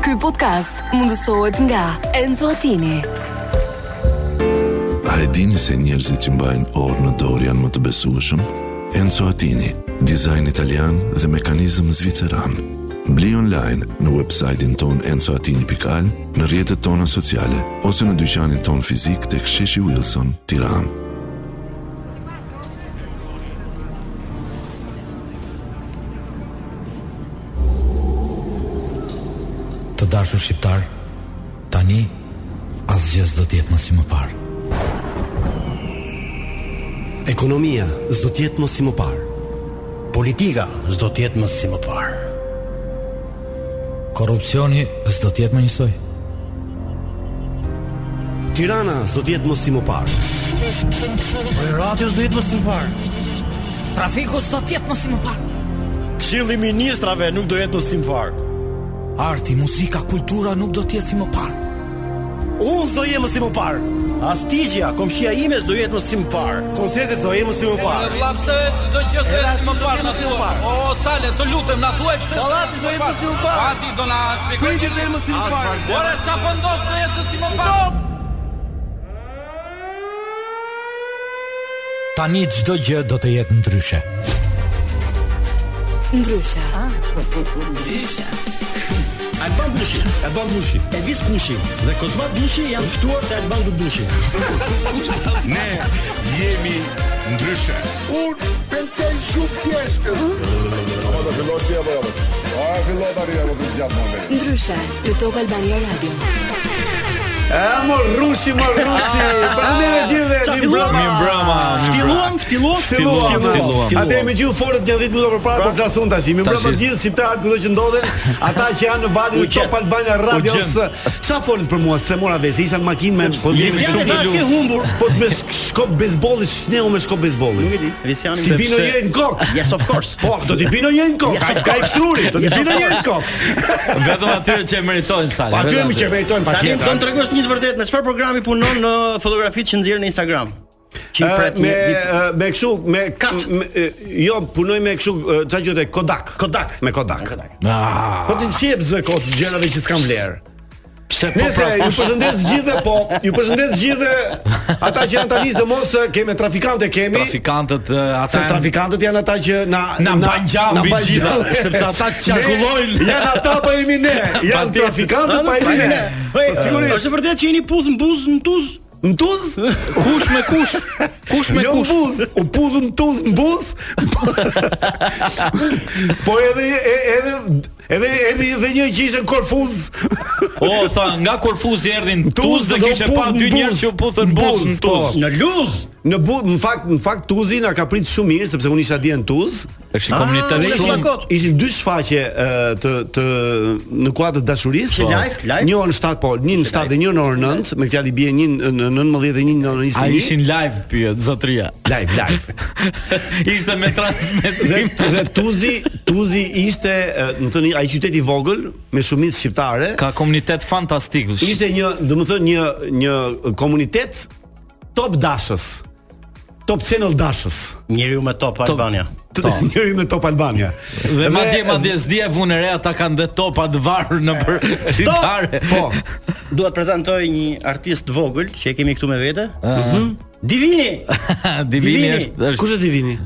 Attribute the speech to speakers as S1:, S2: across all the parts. S1: Ky podcast mundësohet nga Enzo Attini.
S2: A e dini se njerëzit që mbajnë orë në dorë janë më të besueshëm? Enzo Attini, dizajn italian dhe mekanizëm zviceran. Bli online në website-in ton enzoatini.al, në rjetët tona sociale, ose në dyqanin ton fizik të ksheshi Wilson, tiran.
S3: Të dashur shqiptar, tani asgjë s'do të jetë më si më parë.
S4: Ekonomia s'do të jetë më si më parë. Politika s'do të jetë më si më parë.
S3: Korrupsioni s'do të jetë më njësoj.
S4: Tirana s'do të jetë më si më parë. Radio s'do jetë më si më parë.
S5: Trafiku s'do të jetë mos i më parë.
S4: Këshilli i ministrave nuk do jetë më si më parë.
S3: Arti, muzika, kultura nuk do të jetë si më parë.
S4: Unë s'do jem më si më parë. Astigja, komshia ime s'do jetë më si më parë. Koncertet do jetë më si më parë.
S6: Lapse çdo gjë se
S4: Edhe
S6: si më
S4: aty
S6: parë
S4: s'do
S6: na
S4: jemi si më
S6: thuaj.
S4: parë.
S6: O sale, të lutem na thuaj pse.
S4: Dallati do jemi si më parë.
S6: Ati do na shpjegoj.
S4: Priti do jetë më si më parë.
S6: Ora ça po ndos të jetë si më parë?
S3: Tani çdo gjë do të jetë ndryshe.
S1: Ndryshe,
S4: Alban Bushi, Alban Bushi, Elvis Bushi dhe Kozma Bushi janë ftuar te Alban Bushi.
S7: Ne jemi ndryshe.
S1: ndryshe në Top Albania Radio.
S4: Çfarë filluam?
S8: pra.
S4: Mi mbrama. Ftilluam, ftilluam,
S9: Ftilluam, ftilluam.
S8: Atë me gjithë forët janë 10 minuta përpara po flasun tash. Mi mbrapa
S9: Tashi.
S8: gjithë shqiptarët kudo që ndodhen, ata që janë në valin e
S4: U
S8: Top
S4: qen.
S8: Albania Radios.
S9: qen.
S8: Çfarë folën për mua se mora vesh, isha në makinë me
S9: po jemi
S8: Visian
S9: shumë
S8: ta
S9: të lumtur.
S8: ke humbur, po të me sk- shkop bejsbolli, shneu me shkop bejsbolli.
S4: Visiani
S8: Si bino
S9: Sepse-
S8: njëri në kokë.
S4: Yes, of course.
S8: Po, do t'i bino njëri në kokë. Ka ka i psuri, do t'i bino njëri në kokë.
S9: Vetëm atyre që e meritojnë sale.
S8: Pa aty
S9: vetëm
S8: më
S9: atyre.
S8: qeveritojnë
S10: Tani do të
S8: patjetër.
S10: tregosh një të vërtetë, me çfarë programi punon në fotografitë që nxjerrin në Instagram? Që i
S8: Ë,
S10: pret
S8: Ah, Me
S10: një vit.
S8: ë, me kështu me
S10: Kat.
S8: me- ë, jo punoj me kështu ë, çfarë quhet Kodak. Kodak me Kodak.
S3: Ah,
S8: Po ti qep zë kot gjërave që s'kan vlerë.
S9: Pse po
S8: Nëse
S9: pra?
S8: ju përshëndes gjithë, po, ju përshëndes gjithë ata që janë tani domos eh, kemi trafikante kemi.
S9: Trafikantët eh, ata
S8: Se
S9: janë
S8: trafikantët janë ata që na
S9: Na mban gjallë mbi
S8: mban
S9: gjitha,
S8: gjallë.
S9: sepse ata
S8: Ne
S9: qarkullojnë.
S8: Janë ata pa jemi ne. Janë
S9: Patjetër.
S8: trafikantët pa jemi ne. Po
S10: Hej,
S8: sigurisht.
S10: Është vërtet që jeni puzë në buzë në tuz?
S8: Mtuz?
S9: kush me kush? Kush me
S8: Jo
S9: kush?
S8: mbuz, u pudh mtuz mbuz. po edhe e- edhe edhe erdhi edhe një që ishte në Korfuz.
S9: O, tha, nga Korfuzi erdhin
S8: Tuz
S9: Tuz dhe
S8: do
S9: kishe
S8: pudh
S9: pa dy
S8: në
S9: njerëz
S8: Buz.
S9: që u puthën buz në Tuz.
S10: Në luz.
S8: po. Në bu, në fakt, në fakt Tuzi na ka prit shumë mirë sepse unë isha dje në Tuz.
S9: Është
S8: Ah,
S9: një komunitet
S10: unë e
S9: shumë
S10: shaka kot.
S8: Ishin dy shfaqje ë, të të në kuadër të dashurisë.
S10: Ishte live? Live?
S8: Një orën 7 po, një në 7 dhe një në orën 9, me fjalë i bie një në 19 dhe një në orën
S9: A
S8: 21.
S9: ishin live pyet zotria.
S8: live, live.
S9: Ishte me
S8: Dhe,
S9: transmetim.
S8: dhe Tuzi, Tuzi ishte, ë, më thënë, ai qytet i vogël me shumicë shqiptare.
S9: Ka komunitet fantastik.
S8: Ishte një, domethënë një një komunitet top dashës. Top channel dashës.
S10: Njeriu me top Albania.
S8: Të njëri me Top Albania.
S9: Dhe madje madje s'di e vunë re ata kanë dhe topa të varur në për shqiptare.
S8: Po,
S10: Dua të prezantoj një artist të vogël që e kemi këtu me vete. Mhm. Divini.
S9: Divini
S10: Divini.
S9: është është
S8: kush e ti vini?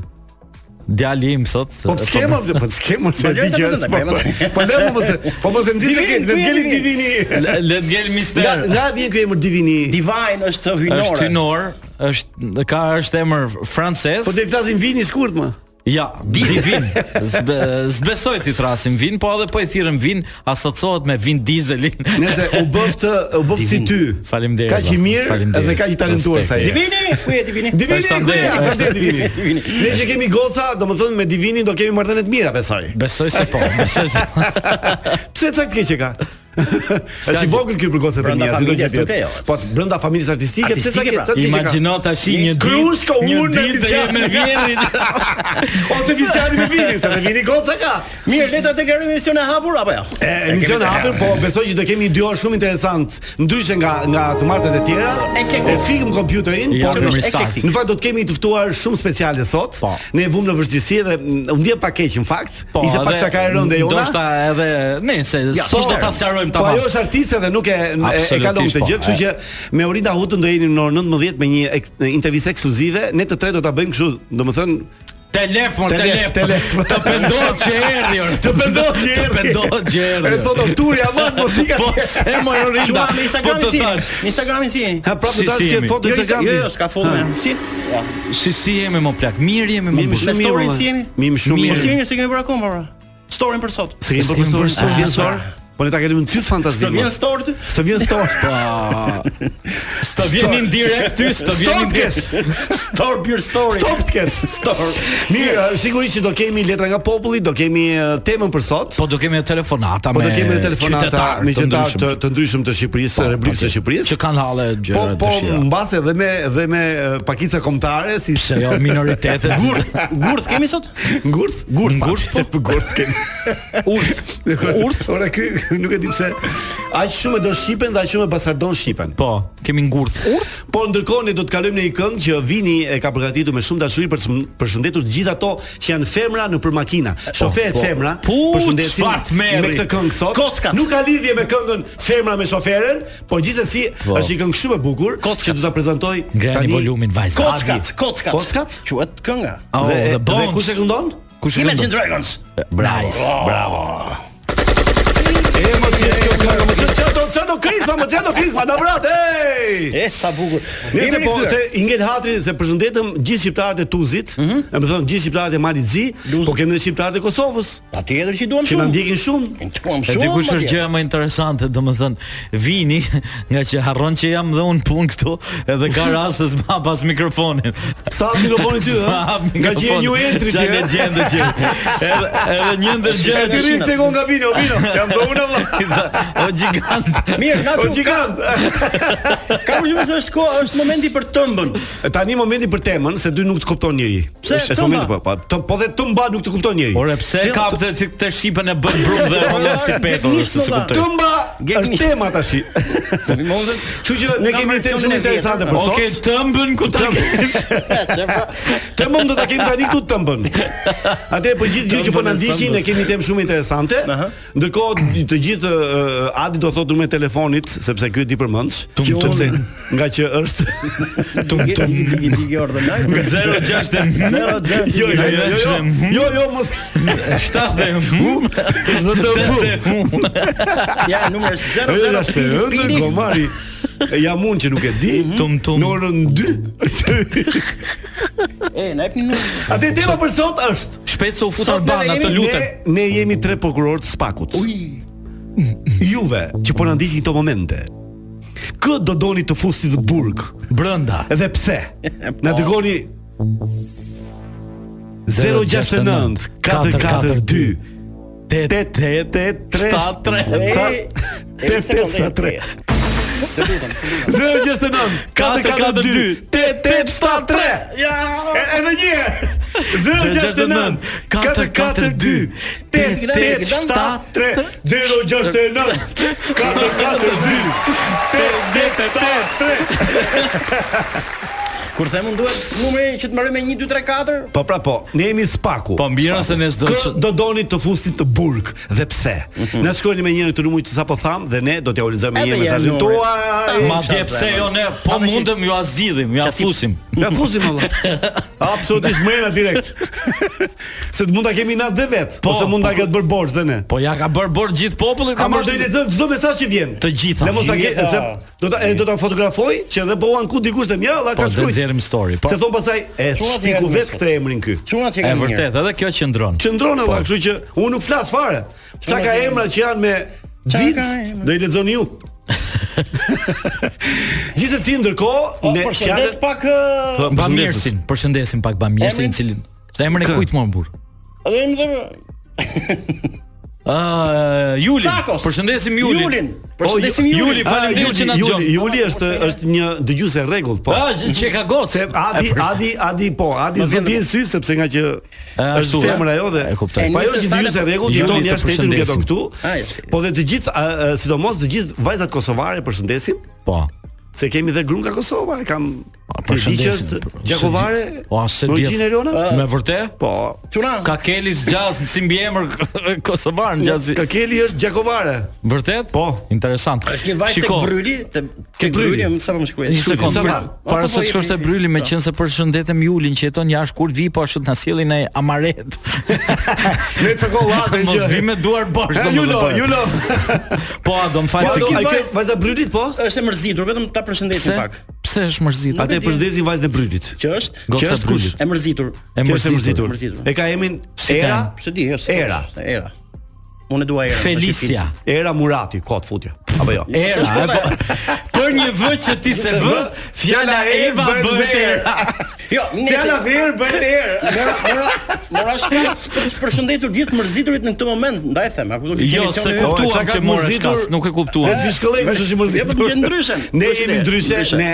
S9: djali im sot.
S8: Po pse ke më po pse ke më se
S10: Po,
S8: di që
S10: lërë
S8: është.
S10: ta
S8: Po
S10: bëzën, ta bëzën.
S8: po lëmë mos e- po mos e nxitse
S10: Divini,
S8: ke, ne
S10: divini.
S8: ngeli divini.
S9: Le- Le të gjel
S8: Nga
S9: mister.
S8: nga vjen ky emër divini.
S10: Divine është hynore.
S9: Është hynor, është ka është emër francez.
S8: Po do i flasim vini skurt më.
S9: Ja, divin. Zbe, zbesoj ti trasim vin, po edhe po i thirrëm vin, asocohet me vin dizelin.
S8: Nëse u bëf të u bëf si ty.
S9: Faleminderit,
S8: Kaq i
S9: valla.
S8: mirë
S9: Faleminderit.
S8: edhe kaq i talentuar sa je.
S9: Respekt.
S10: Divini, ku je Divini?
S8: Divini,
S9: Është
S8: ku je?
S9: ande,
S8: Është
S9: është-
S8: ande divini. Ne që kemi goca, domethënë me divinin do kemi marrëdhënie të mira besoj.
S9: Besoj se po, besoj se po.
S8: Pse çka keq e ka? Është i
S9: gjë.
S8: vogël ky për gocat e
S10: Brenda
S8: mia, si do
S10: familjes
S8: të
S10: turke,
S8: jetë.
S10: jo.
S8: Po brenda familjes artistike, pse çka
S10: Artistike,
S8: keq?
S10: pra.
S8: çfarë keq e ka?
S9: Imagjino tash një ditë.
S8: Krushko,
S9: një
S8: unë,
S9: ditë dhe je
S8: Tizian.
S9: me vjerin.
S8: Ose Visiani me vini, se me vini goca ka.
S10: Mirë, le ta deklarojmë emision e hapur apo jo?
S8: E, emision e hapur, po besoj që do kemi dy orë shumë interesant, ndryshe nga nga të martët e tjera.
S10: E ke
S8: E fikëm kompjuterin, po,
S9: Ja,
S8: por
S9: me
S8: është
S9: restart.
S8: eklektik. Në fakt do të kemi të ftuar shumë speciale sot.
S9: Po.
S8: Ne e vumë në vështirësi dhe
S10: Po,
S8: mm, u ndje pak keq në fakt. Ishte pak
S9: edhe
S8: shaka e rëndë e jona.
S9: Ndoshta edhe, nëse
S8: Ja,
S9: sot do
S8: ishte.
S9: ta sqaroj kuptojmë
S8: Po
S9: tamam.
S8: ajo është artiste dhe nuk e e
S9: Absolutisht,
S8: kalon këtë
S9: po,
S8: gjë, kështu
S9: e.
S8: që me Orida Hutën do jeni në orën 19 me një ek- një intervistë ekskluzive, ne të tre do ta bëjmë kështu, domethënë
S9: Telefon,
S8: Telef,
S9: telefon,
S8: telef.
S9: Të pendohet që erdhi. or.
S8: të pendohet që
S9: Të pendohet që
S8: E
S9: erdhi.
S8: thotë "O, turi aman muzika.
S9: Po pse më
S4: Çuna
S9: Rinda?
S4: me
S9: Po
S4: Instagramin
S9: të
S4: si?
S9: thash.
S4: Në Instagramin si jeni?
S8: Ha prapë do
S9: Si,
S8: të
S9: si
S8: ke
S9: jemi?
S8: foto
S4: Jo,
S8: Instagram.
S4: jo, jo, s'ka foto.
S8: Ha.
S4: jam. Si?
S9: Si si jemi më plak? Mirë jemi më
S8: Mim
S9: bukur.
S4: Me
S8: shumë
S4: story
S8: mirë.
S4: si jemi?
S8: Mim shumë
S9: Mirë.
S4: Po si
S8: mirë.
S4: jeni se kemi bërë akoma pra? Storin për sot.
S8: Se kemi
S9: Se
S8: bërë
S9: kemi bërë
S8: story sot
S9: story.
S8: vjen sor. Po ne ta kemi në ty fantazi.
S4: Të vjen story?
S8: Së vjen stor.
S9: Po, Të vjenin direkt ty, të
S8: Stop
S9: vjenin
S8: kesh.
S9: direkt.
S4: Stor pure story.
S8: Stop kesh. Stor. Mirë, sigurisht që do kemi letra nga populli, do kemi eh, temën për sot.
S9: Po do kemi edhe telefonata me
S8: Po do kemi telefonata
S9: qytetar
S8: me
S9: të
S8: qytetar
S9: ndryshëm.
S8: të, të ndryshëm të Shqipërisë, Republikës së
S9: patjetër.
S8: Shqipërisë.
S9: Që kanë halle
S8: Po
S9: gjëra
S8: po
S9: të shija.
S8: mbas edhe me dhe me eh, pakica kombëtare si
S9: Se jo minoritetet. Gurth,
S4: Gurth kemi sot?
S8: ngurth, ngurth,
S9: Ngurth,
S8: patjetër, po ngurth kemi.
S9: urth, urth.
S8: Urth, ora ky nuk e di pse aq shumë e do shqipen dhe aq shumë e pasardon shqipen.
S9: Po, kemi ngurth, urth.
S8: Po ndërkohë ne do të kalojmë në një këngë që Vini e ka përgatitur me shumë dashuri për të përshëndetur të gjithë ato që janë femra nëpër makina. Shoferët
S9: po.
S8: femra
S9: Pu,
S8: përshëndesin
S9: çfarë të merri.
S8: me këtë këngë sot.
S4: Kockat.
S8: Nuk ka lidhje me këngën femra me shoferën, po gjithsesi
S9: Po.
S8: është një këngë shumë e bukur
S4: Kockat.
S8: që do ta prezantoj
S9: Ngreni volumin vajza.
S4: Kockat,
S8: Adi.
S4: kockat.
S8: Kockat?
S4: Quhet kënga.
S9: Oh,
S8: Dhe,
S9: the
S8: dhe
S9: bones.
S8: ku se këndon?
S9: Kush e
S4: Imagine
S9: këndon?
S4: Dragons.
S9: Nice.
S8: E mos e kjo këngë, po, mos e çato çato krisma, mos e çato krisma në vrat. Ej!
S4: E sa bukur.
S8: Nëse
S4: Jemi
S8: po
S4: rikthyer.
S8: se i ngel hatri se përshëndetëm gjithë shqiptarët e Tuzit, e
S9: Mhm.
S8: më thon gjithë shqiptarët e Malit Zi, po kemi edhe shqiptarët e Kosovës,
S4: Patjetër që duam
S8: që na
S4: shumë.
S8: ndjekin shumë.
S4: Duam
S9: E
S4: shumë.
S9: di kush është
S4: madje.
S9: gjëja më interesante, domethën vini nga që harron që jam dhe un punë këtu, edhe ka raste s'ma hap as mikrofonin.
S8: Sta hap mikrofonin ty,
S9: S'ma
S8: Po, ha?
S9: hap
S8: Nga që je
S9: mikrofonin.
S8: new entry ti.
S9: Çaj legjendë që. Edhe edhe një ndër gjë
S8: Ti rrit tek nga vino, vino. Jam do unë valla.
S9: O gjigant.
S4: Mirë, na
S8: O
S4: çu.
S8: gjigant.
S4: Ka përgjithësi se është koha, është momenti për tëmbën.
S8: Tani momenti për temën se dy nuk të kupton njëri.
S4: Pse?
S8: Është
S4: Tëmba?
S8: momenti po, po, të- po dhe tëmba nuk të kupton njëri.
S9: Ore pse
S4: Ti-
S9: ka këtë që këtë shipën e bën brum dhe
S8: Po,
S9: hollën si petull,
S4: Teknisht,
S9: se se
S4: valla.
S9: kuptoj.
S8: Tëmba
S4: Get
S8: është
S4: me.
S8: tema tash. Kështu që ne
S4: Nga
S8: kemi një temë
S4: versionin
S8: shumë
S4: e
S8: interesante
S4: vjetër,
S8: për Po, sot.
S9: Okej, tëmbën ku ta kesh.
S8: Tëmbën do ta kemi tani këtu tëmbën. Atëherë për gjithë gjë që po na
S4: Tëmbën e
S8: ndiqni
S4: sëmbës.
S8: ne kemi temë shumë interesante. Ndërkohë të gjithë eh, Adi do thotë numrin e telefonit sepse ky e di përmendsh,
S4: Tum, tum.
S8: sepse nga që është
S4: Tum tum digi digi ordonaj.
S9: 06 0
S8: jo jo jo jo jo jo jo mos
S9: 7 dhe hmm? mu
S8: do të fu.
S9: dhe mu
S4: Ja, numri është
S8: Jo, jo, është
S4: 00
S8: ëndër
S4: Pini.
S8: gomari. Jam unë që nuk e di.
S9: Tum, tum.
S8: Në orën 2.
S4: E, na jepni numrin.
S8: Atë tema për sot është
S9: Shpejt se u fut
S8: Sot ne
S9: Arbana,
S8: jemi-
S9: të lutem.
S8: Ne, ne jemi tre prokurorë të spakut. Uj. Juve që po na ndiqni këto momente. Kë do doni të fusni në burg?
S9: Brenda.
S8: Edhe pse? Na dërgoni 069 442
S4: E, e, sekondë, e,
S8: 883
S4: Të lutem.
S8: 069 442 8873
S4: Ja.
S8: Edhe një herë. 069 442 8873 069 442 8873
S4: Kur them unë duhet numri që të mbaroj me 1 2 3 4.
S8: Po pra po, ne jemi spaku.
S9: Po mbira se ne s'do
S8: Kë
S9: që- Mhm.
S8: do doni të fusi të burg dhe pse? Na shkruani me njëri të numrit që sapo tham dhe ne do t'ja ulëzojmë me
S4: Edhe
S8: një
S4: janë
S8: mesazhin
S4: numri.
S8: tuaj.
S9: Ma dje pse jo ne, po
S4: Ame si-
S9: mundem ju a zgjidhim, ju a fusim.
S8: Ja fusim valla. Absolutisht mrena direkt. Se të mund ta kemi na dhe vet,
S9: Po,
S8: ose mund ta ketë bërë borxh dhe ne.
S9: Po ja ka bërë borë gjithë popullit, ka
S8: Ama do i
S9: bërë
S8: lexojmë çdo mesazh që vjen.
S9: të gjitha.
S8: Dhe mos ta ke
S4: Gjitha.
S8: se do ta e, do ta fotografoj që edhe po uan ku dikush të mja, dha
S9: Po
S8: ka
S9: do
S8: shkruajt.
S9: nxjerrim story. Po
S8: Se thon pastaj e
S4: Shumë atë
S8: shpiku
S4: janë
S8: vet
S4: njerëz.
S8: këtë emrin ky.
S4: Çuna që
S9: e
S4: kanë.
S9: vërtet, edhe kjo qëndron.
S8: Qëndron edhe, kështu që unë nuk flas fare. Çka ka emra që janë me
S4: Çka
S8: Dic,
S4: ka emra?
S8: do i lexoni ju. Gjithsesi ndërkohë
S4: Po
S8: ne
S4: përshëndet
S8: fjalët-
S4: pak uh, ë,
S8: Po, përshëndesim.
S9: Bamirsin, përshëndesim pak Bamirsin,
S4: Emrin?
S9: i cilin Se emrin e kujt më burr?
S4: Edhe më dhe
S9: Ë Julin.
S4: Cakos.
S9: Përshëndesim Julin.
S4: Julin. Përshëndesim
S8: O,
S4: Ju-
S9: Juli,
S8: Ah,
S9: faleminderit që na
S8: Juli,
S9: dëgjon.
S8: Juli është është një dëgjues e rregullt, po.
S9: Ah, çe ka gocë.
S8: Se Adi, Adi, Adi po, Adi
S4: Më
S8: s'do
S4: vjen
S8: të sy sepse nga që
S9: A,
S8: është
S9: Ah, ashtu,
S8: femër
S9: a?
S8: ajo dhe
S9: E kuptoj.
S8: Po ajo
S4: E,
S8: është
S4: nëse
S8: dëgjuese
S4: sale-
S8: e rregullt,
S9: Juli,
S8: jeton
S9: të
S8: jashtë shtetit, nuk
S9: përshëndesim.
S4: Ah,
S8: jeton këtu.
S4: A, jashtë shtetit.
S8: Po dhe të gjithë, a, a, sidomos të gjithë vajzat kosovare përshëndesin
S9: Po.
S8: Se kemi dhe grun nga Kosova, e kam
S9: Ah,
S8: përshëndetje
S11: përshëndesim.
S8: është
S11: Se di-
S8: Gjakovare.
S11: O, se
S8: me
S11: di-
S8: origjinë erione?
S4: Ah.
S11: Me vërtet?
S8: Po.
S4: Çuna.
S11: Ka Kelis Gjaz, si mbi emër kosovar në Gjazi.
S8: Kakeli është Gjakovare.
S11: Vërtet?
S8: Po.
S11: Interesant.
S4: Është një vajtë tek Bryli, tek tek Bryli,
S8: Bryli.
S4: më sa më shkruaj.
S11: Një sekond,
S8: sa
S11: pra,
S8: vjen?
S11: para se të shkosh te Bryli, me qenë se përshëndetem Julin që jeton jashtë kur vi po ashtu na sjellin ai amaret.
S8: Me çokoladë
S11: Mos vi me duar
S8: E,
S11: bosh domethënë.
S8: Julo, Julo.
S11: Po, a do më falë se
S8: Vado,
S11: ki
S8: ai ke vajza Brylit po?
S4: Është e mërzitur, vetëm ta
S11: pse
S4: përshëndesim pak.
S11: pse është mërzit?
S8: Atë e përshëndesin vajzën e Brylit.
S4: Që është?
S11: Goca
S4: që është
S11: Brylit.
S4: E mërzitur.
S11: E
S8: Që është e
S11: mërzitur.
S4: mërzitur.
S8: E ka emrin
S11: Si ka
S8: Era,
S11: emrin?
S4: Pse di, jo. s'e-
S8: Era.
S4: Era. Unë e dua Era.
S11: Felicia.
S8: Era Murati, kot futje. Apo jo?
S11: Era, e po. Për një vë që ti se vë, fjala Eva bëhet era.
S4: Jo, ne
S8: Fjala ver bëhet erë.
S4: Mora, mora, mora shkas për të përshëndetur gjithë mërziturit në këtë moment, ndaj them, a kupton?
S11: Jo, se
S4: Emisioni-
S8: kuptoj.
S11: kuptuam
S8: çka
S11: që
S8: ka
S11: morë
S8: mërzitur-
S11: shkas, nuk e kuptuam.
S8: Ne ti shkollojmë është si mërzitur.
S4: Jo, po jemi ndryshe.
S8: Ne
S4: Ndryshe,
S8: jemi ndryshe,
S4: ndryshe.
S8: ne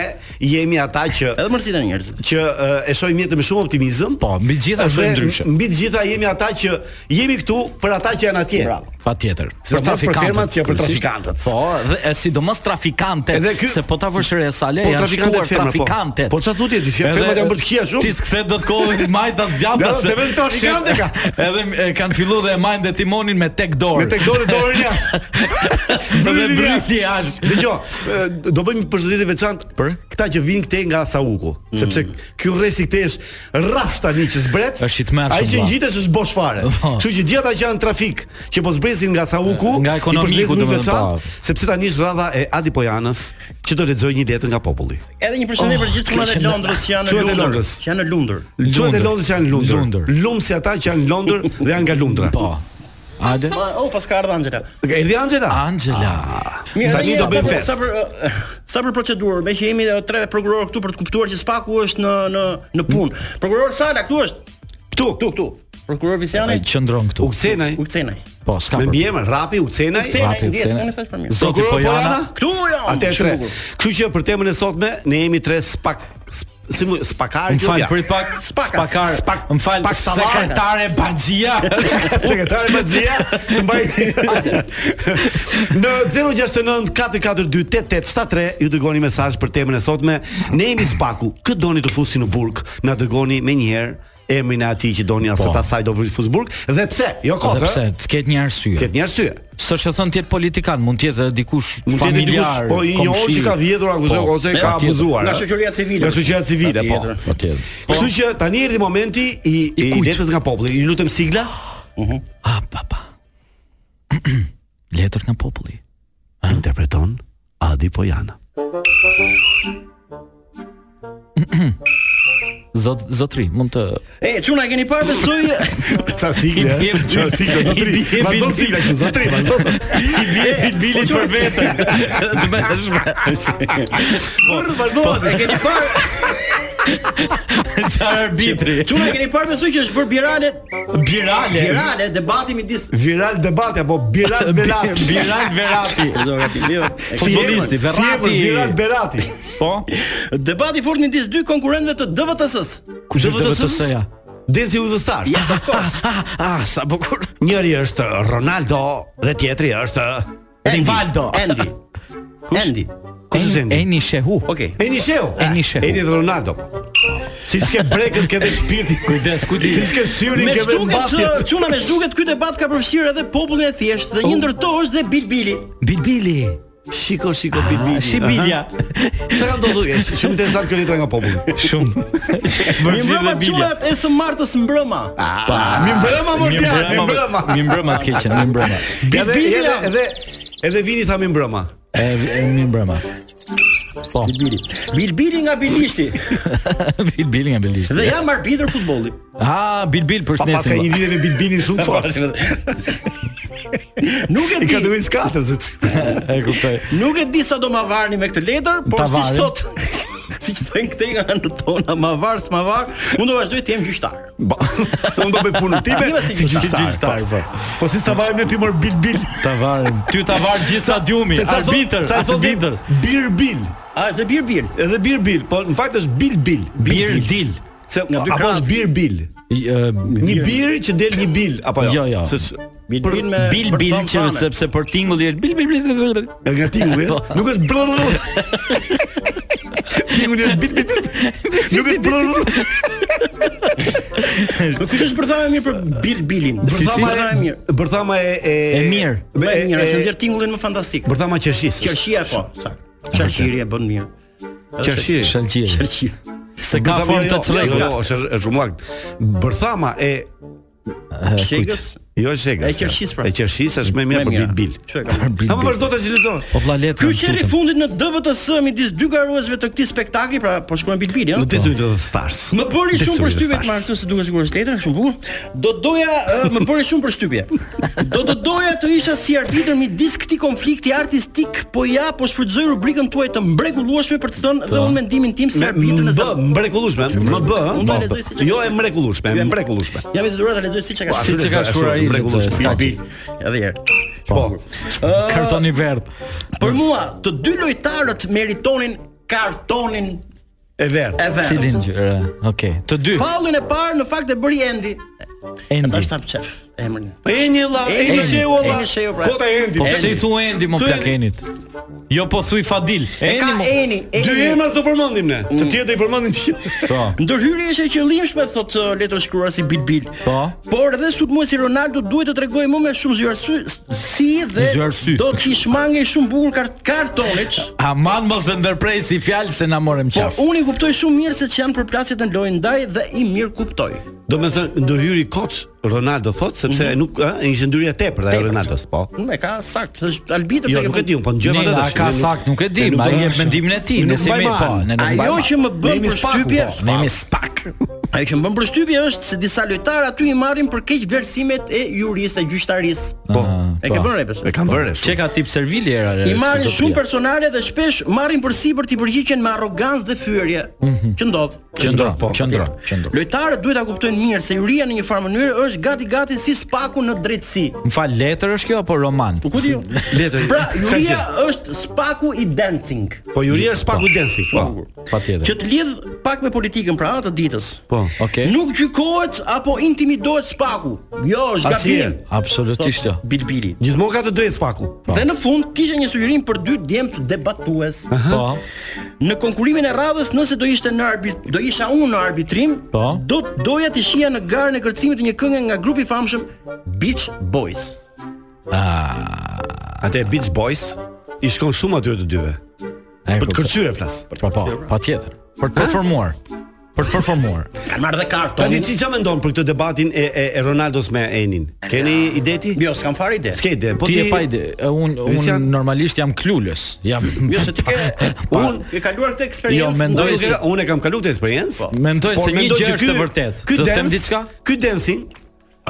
S8: jemi ata që
S4: Edhe mërzitën njerëzit.
S8: që e, e shohim jetën me shumë optimizëm.
S11: Po, mbi të gjitha
S8: Dhe
S11: shohim ndryshe.
S8: Mbi të gjitha jemi ata që jemi këtu për ata që janë atje.
S4: Bravo.
S11: Patjetër.
S8: Sidomos për firmat që për
S11: kryesisht.
S8: trafikantët.
S11: Po, dhe e sidomos trafikantët,
S8: Edhe ky-
S11: se po ta vësh re sale,
S8: Po,
S11: janë
S8: trafikantët
S11: shkuar
S8: firma, po.
S11: trafikantët.
S8: Po, çfarë thotë ti? Si
S11: Edhe-
S8: firmat janë bërë të këqija shumë?
S11: Ti s'kthe dot kohën majtas djamta.
S8: Ja, se vetëm trafikantët ka.
S11: Edhe e, kanë filluar dhe e majnë dhe timonin me tek
S8: Me
S11: dorë.
S8: tek dorë dorën jashtë.
S11: Dhe
S8: Bryli
S11: bryli jashtë.
S8: Dgjoj, e, do bëjmë një përshëndetje veçantë
S11: Për? Mm.
S8: këta që vinë këtej nga Sauku, sepse ky rresi këtej është rrafsh tani që zbret.
S11: Është i tmerrshëm,
S8: Ai që
S11: vlla.
S8: ngjitesh është bosh fare.
S11: Po.
S8: Kështu që gjithë ata që janë trafik, që po zbresin nga Sauku,
S11: Nga
S8: i
S11: ekonomiku,
S8: përshëndesim
S11: domethënë,
S8: veçantë,
S11: po.
S8: sepse tani është rradha e Adi Pojanës që do lexojë një letër nga populli.
S4: Edhe një përshëndetje për gjithë çunat e
S11: Krishna.
S4: Londrës që janë
S8: Çunat Oh, e
S4: në Londër,
S8: Londrës.
S4: që janë në Londër.
S8: Çuat e
S11: Lundër.
S8: Londrës që janë në
S11: Lundër.
S8: Lundër. Lum si ata që janë në Londër dhe janë nga Lundra.
S11: Po. Hajde.
S4: Ma, oh, pas ka ardhur Angela.
S8: Erdhi Angela?
S11: Angela.
S4: Mirë,
S8: Tani
S4: edhe
S8: do
S4: një,
S8: bëjmë
S4: sa për-
S8: fest.
S4: Sa për eh, sa për procedurë, me që jemi eh, tre prokurorë këtu për të kuptuar që spaku është në në në punë. Prokuror Sala këtu është. Këtu, këtu, këtu. Prokuror Visiani,
S11: Ai qëndron këtu.
S8: U kthenaj.
S4: u kthenaj.
S11: Po, s'ka.
S8: Me
S11: problem.
S8: mbiemër Rapi u kthenaj.
S4: Kthenaj,
S11: Rapi, u
S4: vjes,
S11: kthenaj.
S4: unë thash për mirë.
S11: Zoti
S8: Prokuror
S11: Pojana.
S8: Pojana?
S4: Këtu jam.
S11: Po,
S8: Atë e
S4: shumë
S8: tre.
S4: bukur.
S8: Kështu që për temën e sotme ne jemi tre spak si mu, spakar
S11: Më fal, prit pak
S4: Spakas.
S11: spakar.
S8: Spak-
S11: Më fal,
S8: spak sallakas.
S11: sekretare Baxhia.
S8: sekretari Maxia të mbaj në 069 442 8873 ju dërgoni mesazh për temën e sotme ne jemi spaku kë doni të fusi në burg na dërgoni me një herë emrin e atij që doni as
S11: Po.
S8: ata saj do vë fus burg dhe pse jo kot
S11: Dhe pse,
S8: ë?
S11: të ketë një arsye.
S8: Ket një arsye.
S11: S'është thon tjetë politikan, mund tjetë edhe dikush
S8: Mund të jetë dikush
S11: familjar,
S8: po i njohur
S11: komshi.
S8: që ka vjedhur akuzon
S11: Po,
S8: ose ka
S11: patjetër.
S8: abuzuar.
S4: Nga
S8: ë?
S4: shoqëria civile.
S8: Nga shoqëria civile, po.
S4: Patjetër.
S11: Patjetër.
S8: Kështu që tani erdhi momenti i i,
S11: kujt?
S8: letrës nga populli. Ju lutem sigla.
S11: A, pa, pa. Letër nga populli. Ah.
S8: Interpreton Adi Pojana.
S11: Zot, zotri, mund të...
S4: E, çuna e keni parë besoj.
S8: Sa sigla?
S11: I bjem-
S8: Sa sigla zotri?
S11: I bjem-
S8: Vazhdo sigla që zotri, vazhdo. I bie
S4: Po,
S8: bilbili për veten.
S11: të me shme. Po,
S8: Vazhdo.
S4: E keni parë,
S11: Qa arbitri.
S4: çuna e keni parë besoj që është bërë birale,
S11: Birale.
S4: birale debati midis
S8: Viral debati apo viral
S11: Birale.
S8: belati.
S11: Birale Verati.
S4: Do gati, jo. e
S8: Si emër?
S11: Futbollisti,
S8: Si emër?
S11: Verratti.
S8: Viral Berati.
S11: Po?
S4: Debati fort midis dy konkurrentëve të DVTS-s.
S11: Kush është DVTS-ja?
S8: Dezi udhëstar.
S4: Yes, of course.
S11: Ah, ah, sa bukur.
S8: Njëri është Ronaldo dhe tjetri është
S4: Andy,
S11: Rivaldo.
S4: Andy. Andy.
S8: Kush është Endi?
S11: Eni-
S8: Po,
S11: Eni Shehu.
S4: Okej.
S8: Eni Sheu.
S11: Eni Sheu.
S8: Eni dhe Ronaldo. po. Si s'ke brekët këtë shpirti.
S11: Kujdes, kujdes.
S8: Si s'ke syrin
S4: Me
S8: këtë
S4: zhduket që
S8: mbatjet.
S4: çuna me zhduket ky debat ka përfshirë edhe popullin e thjeshtë
S11: Oh.
S4: dhe një ndërto është dhe Bilbili.
S11: Bilbili. Ah,
S8: Shiko, shiko Bilbili.
S11: Shibilja.
S8: Çka ka ndodhur? Është shumë interesant kjo letra nga populli.
S11: Shumë.
S4: Një mbrëma çunat e së martës mbrëma.
S11: Ah.
S8: Mi mbrëma mor djalë, mi mbrëma.
S11: Mi mbrëma të keqen, mi mbrëma.
S8: Edhe
S4: Bilbili
S8: edhe
S4: jam.
S8: edhe edhe vini tha mi mbrëma.
S11: E, e mi mbrëma. Po.
S4: Bilbili nga Bilishti
S11: Bilbil nga Bilisht.
S4: dhe jam arbitër futbolli.
S11: Ah, Bilbil për
S8: Pa pas ka
S11: shnesin.
S8: një lidhje me Bilbilin shumë fort.
S4: Nuk e
S8: I ka
S4: di,
S8: dëmin skatër se çka.
S11: E kuptoj.
S4: nuk e di sa do ma varni me këtë letër, por
S11: Ta
S4: siç
S11: varim.
S4: thot, siç thënë këtej nga anët tona, ma var, s'ma var, unë do vazhdoj të jem gjyqtar.
S8: Ba, Unë do bëj punën time
S4: Jemi si gjyqtar,
S8: po. Po si ta vajmë ne ty mor Bilbil.
S11: Ta varim. Ty ta var gjithë stadiumi,
S8: Se sa thot-
S11: arbitër,
S8: sa i thotë
S11: arbitër.
S8: Birbil.
S4: A dhe bir bir.
S8: Edhe Birbil, po në fakt është Bilbil.
S11: Bir dil.
S8: Se
S4: Nga dy
S8: apo
S4: krahas.
S8: është Birbil. Një bir që del një bil apo jo?
S11: Jo, jo.
S8: Se-
S4: Bil
S8: për-
S4: bil me
S11: Bil
S4: për
S11: bil
S4: thon
S11: që
S4: fame.
S11: sepse për tingulli është bil bil bil. bil, bil.
S8: E nga tingulli,
S11: Po.
S8: nuk është brrrr. Tingulli është bit bit bit. Nuk është brrrr.
S4: Po kush është bërthama e mirë për bil bilin?
S8: Bërthama
S4: Bërthama e mirë.
S8: Bërthama e e
S11: E mirë.
S4: Më e mirë, është
S8: e-
S4: nxjerr tingullin më fantastik.
S8: Bërthama qershis.
S4: Qershia po, sakt. Qershiri e bën mirë.
S8: Qershia.
S11: Shalqiri.
S4: Qershia.
S11: Se ka
S8: Bërthama
S11: formë
S8: jo,
S11: të
S8: Jo,
S11: çrregut.
S8: jo, është është shumë lakt. Bërthama e
S4: Shegës.
S8: jo e shegës.
S4: E qershis, pra.
S8: E qershis është më e mirë për bil bil.
S4: Çfarë ka?
S8: Ha më vazhdo të lexoj.
S11: Po vllalet.
S4: Ky qerri fundit në DVTS midis dy garuesve të këtij spektakli, pra po shkruan bil bilin,
S8: Në
S4: ëh.
S8: tezuj të stars.
S4: Më bëri
S8: Tezuj
S4: shumë
S8: të
S4: përshtypje
S8: stars.
S4: të marrë këtu se duket sigurisht letra, shumë bukur. Do doja ë, më bëri shumë përshtypje. Do të doja të isha si arbitër midis këtij konflikti artistik, po ja po shfrytëzoj rubrikën tuaj të mrekullueshme për të thënë dhe unë mendimin tim si
S8: Me
S4: arbitër në
S8: bë
S4: zë-
S8: mrekullueshme, më bë, ha?
S4: Unë do e
S8: Po,
S4: lexoj
S8: po.
S4: siç e
S8: Jo
S4: ka.
S8: e mrekullueshme, e mrekullueshme.
S4: Jam i detyruar ta lexoj siç e ka.
S11: Siç e ka
S8: Ashtu,
S11: shkruar ai,
S8: mrekullueshme.
S11: lexoj, s'ka
S8: Bil,
S11: gjë.
S8: bil.
S4: Edhe herë.
S8: Po.
S11: Kartoni verdh.
S4: Për mua, të dy lojtarët meritonin kartonin
S8: E verdh.
S4: e vet.
S11: Cilin gjë? Okej. Të dy.
S4: Fallin e parë në fakt e bëri Endi.
S11: Endi.
S4: Tash ta qef emrin.
S8: E një vlla, e
S4: Endi.
S8: një sheu vlla.
S4: Endi sheu, pra.
S8: Kota e Endi.
S11: Po pse i thu Endi mo
S8: Thuj-
S11: plakenit? Jo po thuj Fadil.
S4: E ka
S11: Endi mo.
S4: Eni,
S8: Dy
S4: Eni.
S8: emra do përmendim ne. Të tjerë do i përmendim tjetër.
S11: Po.
S4: Ndërhyrja është e qëllimshme thot uh, letra shkruesi Bilbil.
S11: Po.
S4: Por edhe sulmuesi Ronaldo duhet të tregoj më me shumë zyrarësy si dhe
S11: Zyrarësy.
S4: do të shmangej shumë bukur kart kartonit.
S11: Aman mos e ndërprej si fjalë se na morëm
S4: Por
S11: qaf.
S4: unë i kuptoj shumë mirë se që janë përplasjet në lojë ndaj dhe i mirë kuptoj.
S8: Do të thënë ndërhyri kot Ronaldo thot sepse nuk ë ishte ndyrja tepërt ajo
S4: Tepërt.
S8: Ronaldos, po.
S4: Nuk e ka sakt, është arbitër
S8: Jo,
S4: të ke
S8: nuk e
S4: fund-
S8: di, un, po
S11: Ne
S8: dëgjojmë atë
S11: a
S8: tash.
S11: ka
S8: ne nuk-
S11: sakt, nuk e di,
S8: ne nuk
S11: ma
S8: bëjmë
S11: jep
S8: ashtu.
S11: mendimin e tij,
S8: Ne nuk
S11: nëse
S8: bëjmë
S11: me po,
S8: anë.
S11: ne nuk
S4: Ajo
S11: bëjmë.
S4: që më
S8: Ne
S4: bën
S8: jemi spaku,
S4: përshtypje,
S8: po.
S11: Ne jemi spak.
S4: ajo që më bën përshtypje është se disa lojtarë aty i marrin për keq vlerësimet e juristë, e gjyqtarisë.
S8: Po.
S4: E ke bën repes.
S8: E kanë vërë
S11: Çe
S8: shumë.
S11: ka tip servili era.
S4: I marrin shumë personale dhe shpesh marrin përsipër ti përgjigjen me arrogancë dhe fyerje. Që ndodh?
S11: qendron,
S8: po.
S11: qendron, qendron.
S4: Lojtarët duhet ta kuptojnë mirë se juria në një farë mënyrë është gati gati si spaku në drejtësi.
S11: Më fal, letër është kjo apo roman?
S4: Po ku di?
S8: Letër.
S4: Pra,
S8: s'ka
S4: juria
S8: gjë.
S4: është spaku i dancing.
S8: Po Juria është pak u densi, po.
S4: Që
S11: Patjetër.
S4: të lidh pak me politikën pra anë të ditës.
S8: Po.
S11: Okej.
S4: Nuk gjykohet apo intimidohet spaku. Jo, është gabim.
S8: Asnjëherë.
S11: Absolutisht jo.
S4: Bilbili.
S8: Gjithmonë ka të drejtë spaku.
S4: Dhe në fund kishte një sugjerim për dy djemt debatues.
S11: Po.
S4: Në konkurimin e radhës, nëse do ishte në arbit, do isha unë në arbitrim,
S11: Po.
S4: do doja të shija në garën e kërcimit të një këngë nga grupi i famshëm Beach Boys.
S11: Ah,
S8: Atë Beach Boys i shkon shumë atyre të dyve.
S11: e
S8: Për të
S11: kuptoj.
S8: kërcyre flas.
S11: Po po, patjetër. Për të performuar. Për të performuar.
S4: Kanë marrë dhe karton.
S8: Tani ti çfarë mendon për këtë debatin e e, e Ronaldos me Enin? Keni ide ti?
S4: Jo, s'kam fare ide.
S8: S'ke ide, po
S11: Ti
S8: ti
S11: e pa ide, un un
S8: Visian-
S11: normalisht jam klulës. Jam
S4: Jo, se ti ke unë e kaluar këtë eksperiencë.
S11: Jo, mendoj
S4: ndonjë
S11: se- Po.
S4: gjë-
S8: Unë unë e kam kaluar këtë eksperiencë.
S11: Mendoj
S8: por
S11: se një
S8: mendoj
S11: gjë
S8: që
S11: është
S8: ky-
S11: e vërtetë.
S8: Ky
S11: Do të them
S8: dance-
S11: diçka?
S8: Ky dancing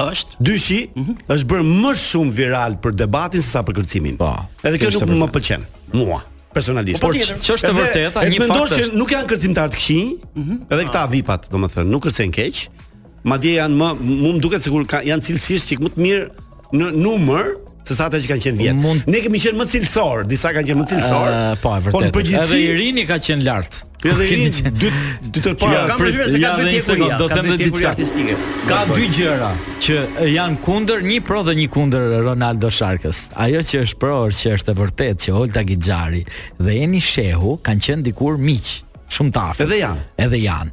S4: është
S8: dyshi është bërë më shumë viral për debatin sesa për kërcimin.
S11: Po,
S8: Edhe kjo
S11: kjo është
S8: nuk
S11: e
S8: më pëlqen mua personalisht.
S4: Po, po tjetër.
S11: Që është e
S8: Edhe-
S11: vërteta,
S8: edhe
S11: një
S8: mendon
S11: fakt
S8: që
S11: është.
S8: nuk janë kërcimtar të këqij, edhe këta vipat, domethënë, nuk kërcejnë keq. Madje janë më mu më duket sikur ka, janë cilësisht çik më të mirë në numër se sa ata që kanë qenë vjet.
S11: Mund-
S8: Ne kemi qenë më cilësor, disa kanë qenë më cilësor.
S11: Ë, po, e
S8: Po në
S11: vërtetë. Edhe
S8: përgjithësi,
S11: Irini ka qenë lart.
S8: edhe
S11: Keni
S8: Irini
S11: qenë-
S8: dy dy të
S4: Jo,
S8: para.
S4: kam
S11: prit,
S4: përshtypjen se ka
S11: ja,
S4: dy
S11: dhe një
S4: djekuria,
S11: sekundë, do
S4: ka
S11: them
S4: dy
S11: dhe
S4: djekuri
S11: diçka.
S4: artistike.
S11: Ka dy gjëra që janë kundër një pro dhe një kundër Ronaldo Sharkës. Ajo që është pro është që është e vërtetë që Holta Gixhari dhe Eni Shehu kanë qenë dikur miq, shumë të afërt.
S8: Edhe janë.
S11: Edhe janë.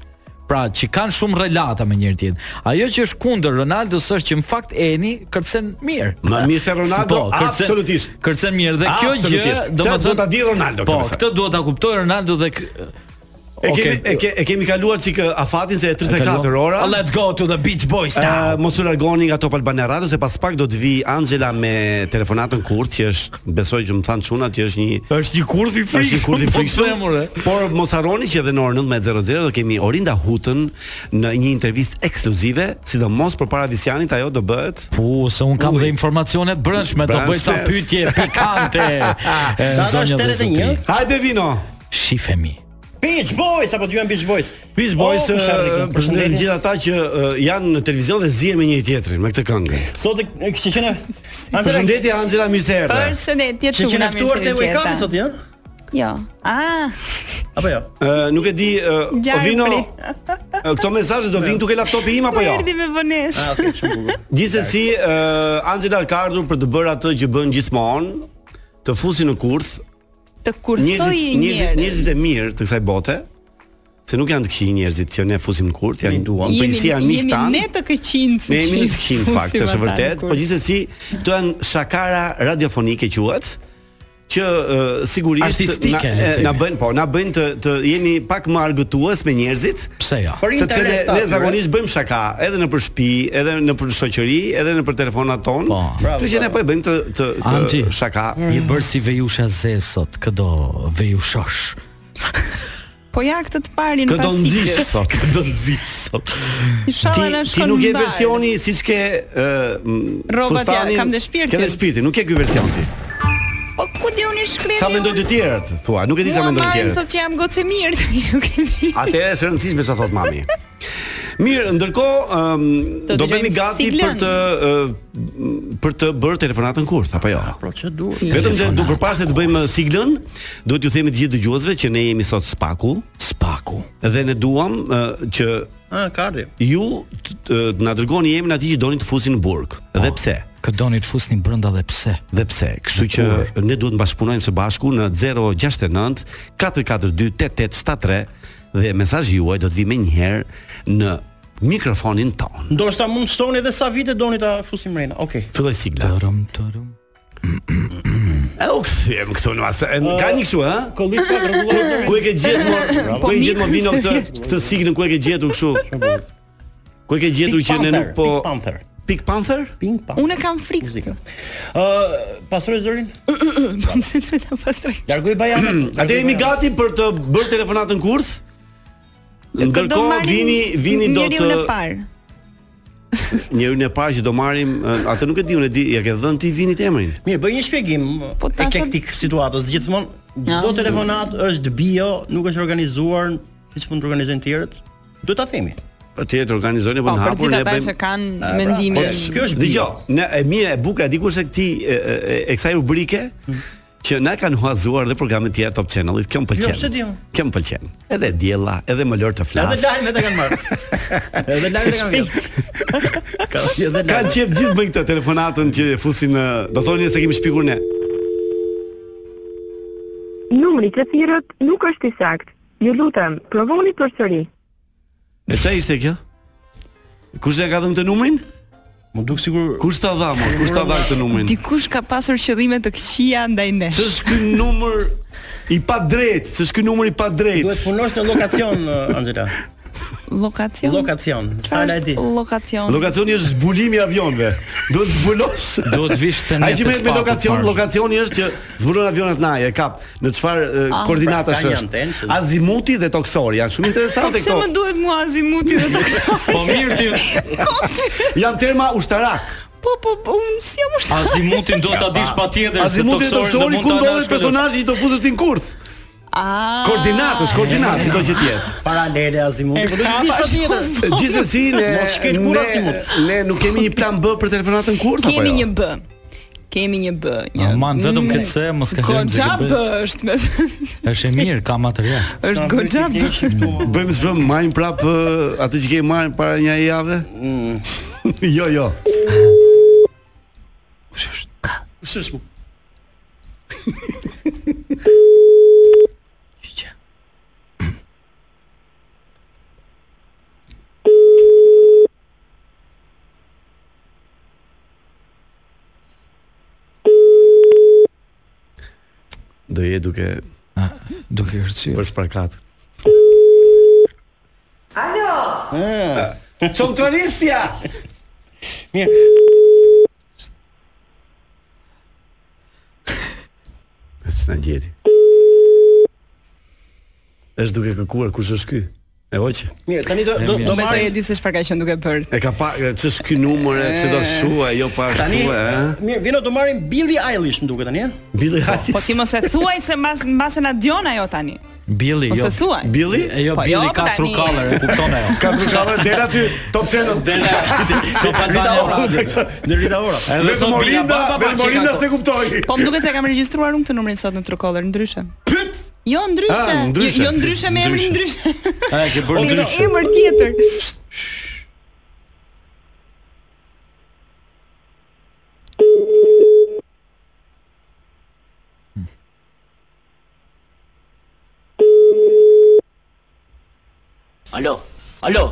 S11: Pra që kanë shumë relata me njëri tjetrin. Ajo që është kundër Ronaldos është që në fakt Eni kërcen mirë.
S8: Më mirë se Ronaldo,
S11: Po, kërcen-
S8: absolutisht.
S11: Kërcen mirë dhe kjo gjë,
S8: Absolutisht. Këtë
S11: domethënë
S8: duhet ta di Ronaldo,
S11: Po,
S8: këtë besoj.
S11: këtë duhet ta kuptojë Ronaldo dhe kë-
S8: E kemi
S11: Okej.
S8: e, ke, e kemi kaluar çik e, afatin se e 34 ora.
S11: Oh, Let's go to the Beach Boys now.
S8: Uh, mos u largoni nga Top Albania Radio se pas pak do të vi Angela me telefonatën kurt që është besoj që më thanë çunat që është një
S11: është një kurth i
S8: Është një kurth i frikshëm.
S11: Po,
S8: Por mos harroni që edhe në orën 19:00 do kemi Orinda Hutën në një intervistë ekskluzive, sidomos përpara Visianit ajo do bëhet.
S11: Po, se un kam dhe informacione të brendshme, do bëj ca
S8: Brendshme.
S11: pyetje pikante. e,
S4: Data
S11: zonja
S4: është
S11: dhe
S4: 81.
S11: zotëri.
S8: Hajde vino.
S11: Shifemi.
S4: Beach Boys apo dy janë Beach Boys.
S8: Beach
S4: Oh,
S8: Boys
S4: kush ardhi këtu?
S8: përshëndetje gjithë ata që eh, janë në televizion dhe zihen me njëri tjetrin me këtë këngë.
S4: Sot e e kishte qenë Angela
S8: Përshëndetje Angela mirë se erdhe.
S12: Përshëndetje
S4: Që
S12: çuna
S4: kena ftuar te wake up sot, ja?
S13: Jo. Ah,
S4: Apo jo?
S8: Ë, nuk e di, ë, o
S13: Gjarë
S8: vino.
S13: pri.
S8: ë, Këto mesazhe do vinë duke laptopi im apo jo?
S13: erdhi me vonesë.
S8: Gjithsesi, ë, Angela ka ardhur për të bërë atë që bën gjithmonë, të fusi në kurth
S13: të kurthoj
S8: njerëzit njerëzit njerëzit e mirë të kësaj bote, se nuk janë të këqij njerëzit që ne fusim në kurth, janë duam, përgjithësi janë miq tanë.
S13: Jemi ne të këqinë.
S8: Ne jemi në të qinë fakt, është e vërtet, po gjithsesi këto janë shakara radiofonike quhet që uh, sigurisht
S6: Artistike,
S8: na,
S6: le
S8: e,
S6: themi.
S8: na bëjnë po na bëjnë të të jemi pak më argëtues me njerëzit.
S6: Pse jo?
S4: Për
S8: Sepse ne,
S4: interes
S8: ne
S4: atyre.
S8: zakonisht bëjmë shaka, edhe në për shtëpi, edhe në për shoqëri, edhe në për telefonat tonë.
S6: Po.
S8: Kështu që ne po e bëjmë të të, të
S6: Amxhi.
S8: shaka.
S13: Mm.
S6: Je bërë si vejusha ze sot, këdo vejushosh.
S13: Po ja këtë të parin
S8: Këdo nxish sot, këdo nxish.
S6: Sot.
S8: Ti
S13: Inshallah na
S8: ti
S13: shkon.
S8: nuk je
S13: mbar.
S8: versioni siç ke ë
S13: Rrobat ja, kam dhe shpirtin.
S8: Ke dhe shpirtin, nuk ke ky version ti.
S13: Po ku di unë shkrepi?
S8: Sa mendojnë të tjerët, thua, nuk e di sa mendojnë
S13: Mua
S8: të
S13: marrin
S8: tjerë.
S13: sot që jam gocë e mirë, nuk e di.
S8: Atëherë është e rëndësishme çfarë thot mami. Mirë, ndërkohë ëm,
S13: Do
S8: do
S13: dëgjojmë
S8: bëhemi gati
S13: Siglen.
S8: për të ë, për të bërë telefonatën kurth apo jo?
S4: Po ç'e duhet?
S8: Vetëm se do
S6: Telefonata
S8: përpara se të bëjmë siglën, duhet ju themi të gjithë dëgjuesve që ne jemi sot spaku
S6: Spaku.
S8: dhe ne duam ë, që
S4: Ah, kardi.
S8: ju të- të të na dërgoni emrin atij që doni të fusin në burg. Dhe pse?
S6: Këdoni të fusni brenda dhe pse?
S8: Dhe pse? Kështu që ne duhet të bashkëpunojmë së bashku në 069 442 8873 dhe mesazhi juaj do të vi më një herë në mikrofonin ton.
S4: Ndoshta mund shtoni edhe sa vite doni ta fusim rena. Okej.
S8: Filloj sigla.
S6: Tërëm, tërëm.
S8: E u kthyem këtu në masë. E, Ka një kështu, ha?
S4: Kollit pa rregullohet.
S8: Ku e ke gjetur? mo- Ku e ke gjetur mo vino këtë këtë siglën ku e ke gjetur kështu? Ku e ke gjetur që ne nuk po
S4: Pink Panther.
S8: Pink Panther?
S4: Pink Panther.
S13: Unë kam frikë.
S4: Muzika. Ë, pastroj zërin.
S13: Po pse do ta pastroj?
S4: Largoj bajamin.
S8: Atë jemi gati për të bërë telefonatën kurth. Ndërkohë vini vini do
S13: Njeriu në
S8: të
S13: parë.
S8: njeriu e parë që do marrim, e, atë nuk e di, unë e di, ja ke dhënë ti vinit emrin.
S4: Mirë, bëj një shpjegim
S13: Po ta thot-
S4: eklektik situatës. Gjithmonë çdo
S11: Ja.
S4: telefonat është bio, nuk është organizuar siç mund të organizojnë tjerët. Duhet ta themi.
S8: Patjetër organizojnë po
S13: Po,
S8: në
S13: për
S8: hapur
S13: gjithë
S8: ne
S13: ata që
S8: bëjmë. Pra.
S13: kanë
S4: Po,
S13: mendimin.
S4: Kjo është bio.
S8: Dgjoj, ne e mirë e bukur e di kurse këti e, e, e- e kësaj rubrike që na kanë huazuar dhe programet tjera Top Channelit, kjo më pëlqen.
S4: Mm. Jo, pse di unë?
S8: Kjo më pëlqen. Edhe diella, edhe më lër të
S4: Edhe
S8: flas.
S4: lajmet e kanë marrë. Edhe lajmet e kanë marrë. Ka edhe
S8: Ka
S4: lajmet.
S8: qef gjithë bëjnë këtë telefonatën që e fusin në, do thonë se kemi shpikur ne.
S14: Numri që thirrët nuk është i saktë. Ju lutem, provoni përsëri.
S8: E çfarë ishte kjo? Kush e ka dhënë këtë numrin?
S4: Më duk sigur
S8: Kush ta dha më? Kush ta dha këtë numrin?
S13: Dikush ka pasur qëllime të këqija ndaj nesh.
S8: Ç'është ky numër i padrejtë? Ç'është ky numër i padrejtë?
S4: duhet punosh në lokacion eh, Angela.
S13: Lokacion.
S4: Lokacion. Sa la e di?
S13: Lokacion.
S8: Lokacioni është zbulimi i avionëve. Do të zbulosh.
S6: Do të vish të
S8: Ai
S6: netë
S8: që merret me
S6: spaku
S8: lokacion,
S6: parë.
S8: lokacioni është që zbulon avionat na, e kap në çfarë e,
S13: Ah,
S8: koordinatash
S4: pra, ka një
S8: është.
S4: antenë që-
S8: Azimuti dhe toksori janë shumë
S13: Po
S8: interesante
S13: pse më
S8: këto.
S13: duhet mua azimuti dhe taksori?
S6: Po mirë ti,
S8: Janë terma ushtarak.
S13: Po po, po unë si jam ushtar.
S6: Azimutin do ta dish patjetër se
S8: Azimuti
S6: toksori
S8: dhe
S6: do
S8: toksori
S6: mund
S8: ku
S6: ta
S8: ndodhet
S6: anash këtë.
S8: personazhi që do futesh ti në kurth.
S13: Ah.
S8: Koordinatësh, koordinatë çdo që të jetë.
S4: Paralele azimuti. Po duhet të ishte tjetër.
S8: Gjithsesi ne
S4: Mos shkel kur
S8: ne-
S4: Azimut.
S8: Ne nuk kemi një plan B për telefonatën kurth apo
S13: Kemi
S8: jo?
S13: një B. Kemi një B, një.
S6: Aman, vetëm këtë se, mos ka lëmë
S13: Goxha
S6: zgjabë.
S13: B është, me
S6: Është e mirë, ka material.
S13: është goxha B.
S8: Bëjmë s'bëm, marrim prap ë, atë që kemi marrë para një jave? jo, jo.
S4: Kush është?
S8: Do je duke
S6: Ah, Duke kërcyer.
S8: për sparkat. Alo. Çontronisja.
S4: Mirë.
S8: S'na gjeti. Është duke kërkuar kush është ky? E hoqë.
S4: Mirë, tani do do,
S13: Do
S4: do
S13: me sa e
S4: marrim
S13: di se çfarë ka qenë duke bërë.
S8: E ka pa e, ç'është ky numër, e, pse do shua, jo pa
S4: tani.
S8: shua, ë?
S4: Mirë, vino do marrim Billie Eilish, më duket tani, eh? ëh?
S8: Billy
S13: Po ti
S8: Hayes.
S13: mos e thuaj se mbas mbase na djon ajo tani.
S11: Billi,
S15: Ose
S11: jo.
S15: suaj.
S11: Billi? E jo,
S15: Po,
S11: Billi
S15: jo, po
S11: ka
S15: tani.
S11: true color, e kupton ajo.
S7: Ka të kallë deri aty Top Channel deri
S11: Top
S7: Rita
S11: Albania Radio.
S7: Ora.
S4: Në Rita Ora.
S11: Edhe
S7: Vetëm
S11: sot Bila
S7: Olinda,
S11: Baba
S7: vetëm
S11: që ka
S7: Olinda
S11: këto.
S7: se kuptoi.
S15: Po më duket se e kam regjistruar unë këtë numrin sot në Truecaller ndryshe. Pyet. Jo ndryshe.
S7: Ah, ndryshe.
S15: Jo, jo ndryshe me emrin
S7: Ndryshe.
S15: ndryshe.
S11: A e ke bërë
S15: Me
S11: ndryshe?
S15: emër tjetër.
S16: Alo, alo.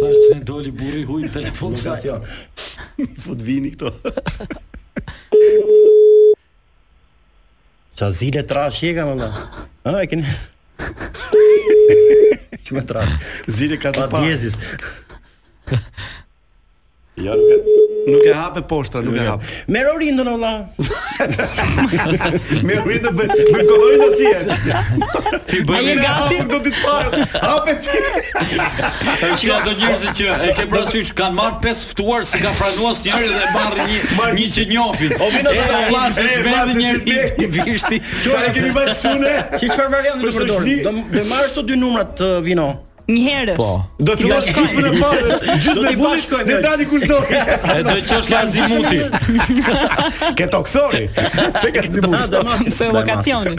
S11: Thash se doli burri huaj në telefon.
S4: Fut po vini këto. Qa zile trash je ka mëma A, e keni Që me trash Zile ka të pa Pa djezis
S8: Jo, nuk e- nuk e hape poshtra, nuk e hape.
S4: Merë orindën o vlla.
S8: Me rritë me me kodorin do si jetë.
S11: Ti
S7: A je gati?
S8: Do ti të parë.
S7: Hapet.
S11: Tash ato njerëzit që e ke parasysh kanë marrë pesë ftuar si ka pranuar njëri dhe marrin një një që njohin.
S7: O, vino të
S11: E,
S7: ta
S11: o, vlla, se
S7: e, vlla,
S11: zberdhi
S7: se
S11: njëri i vishti.
S7: Çfarë kemi bërë sune?
S4: Që çfarë variante do
S7: Për
S4: përdor?
S7: shoqësi?
S4: Do do marrë këto dy numrat të vino.
S15: Një herësh.
S11: Po.
S7: Do të fillosh gjysmën e parë, gjysmën e fundit, ne dali kushdo.
S11: E do të çosh nga Zimuti.
S7: Ke toksori. Se ka
S4: Ah, do mas
S7: zimuti.
S15: Se vokacionin.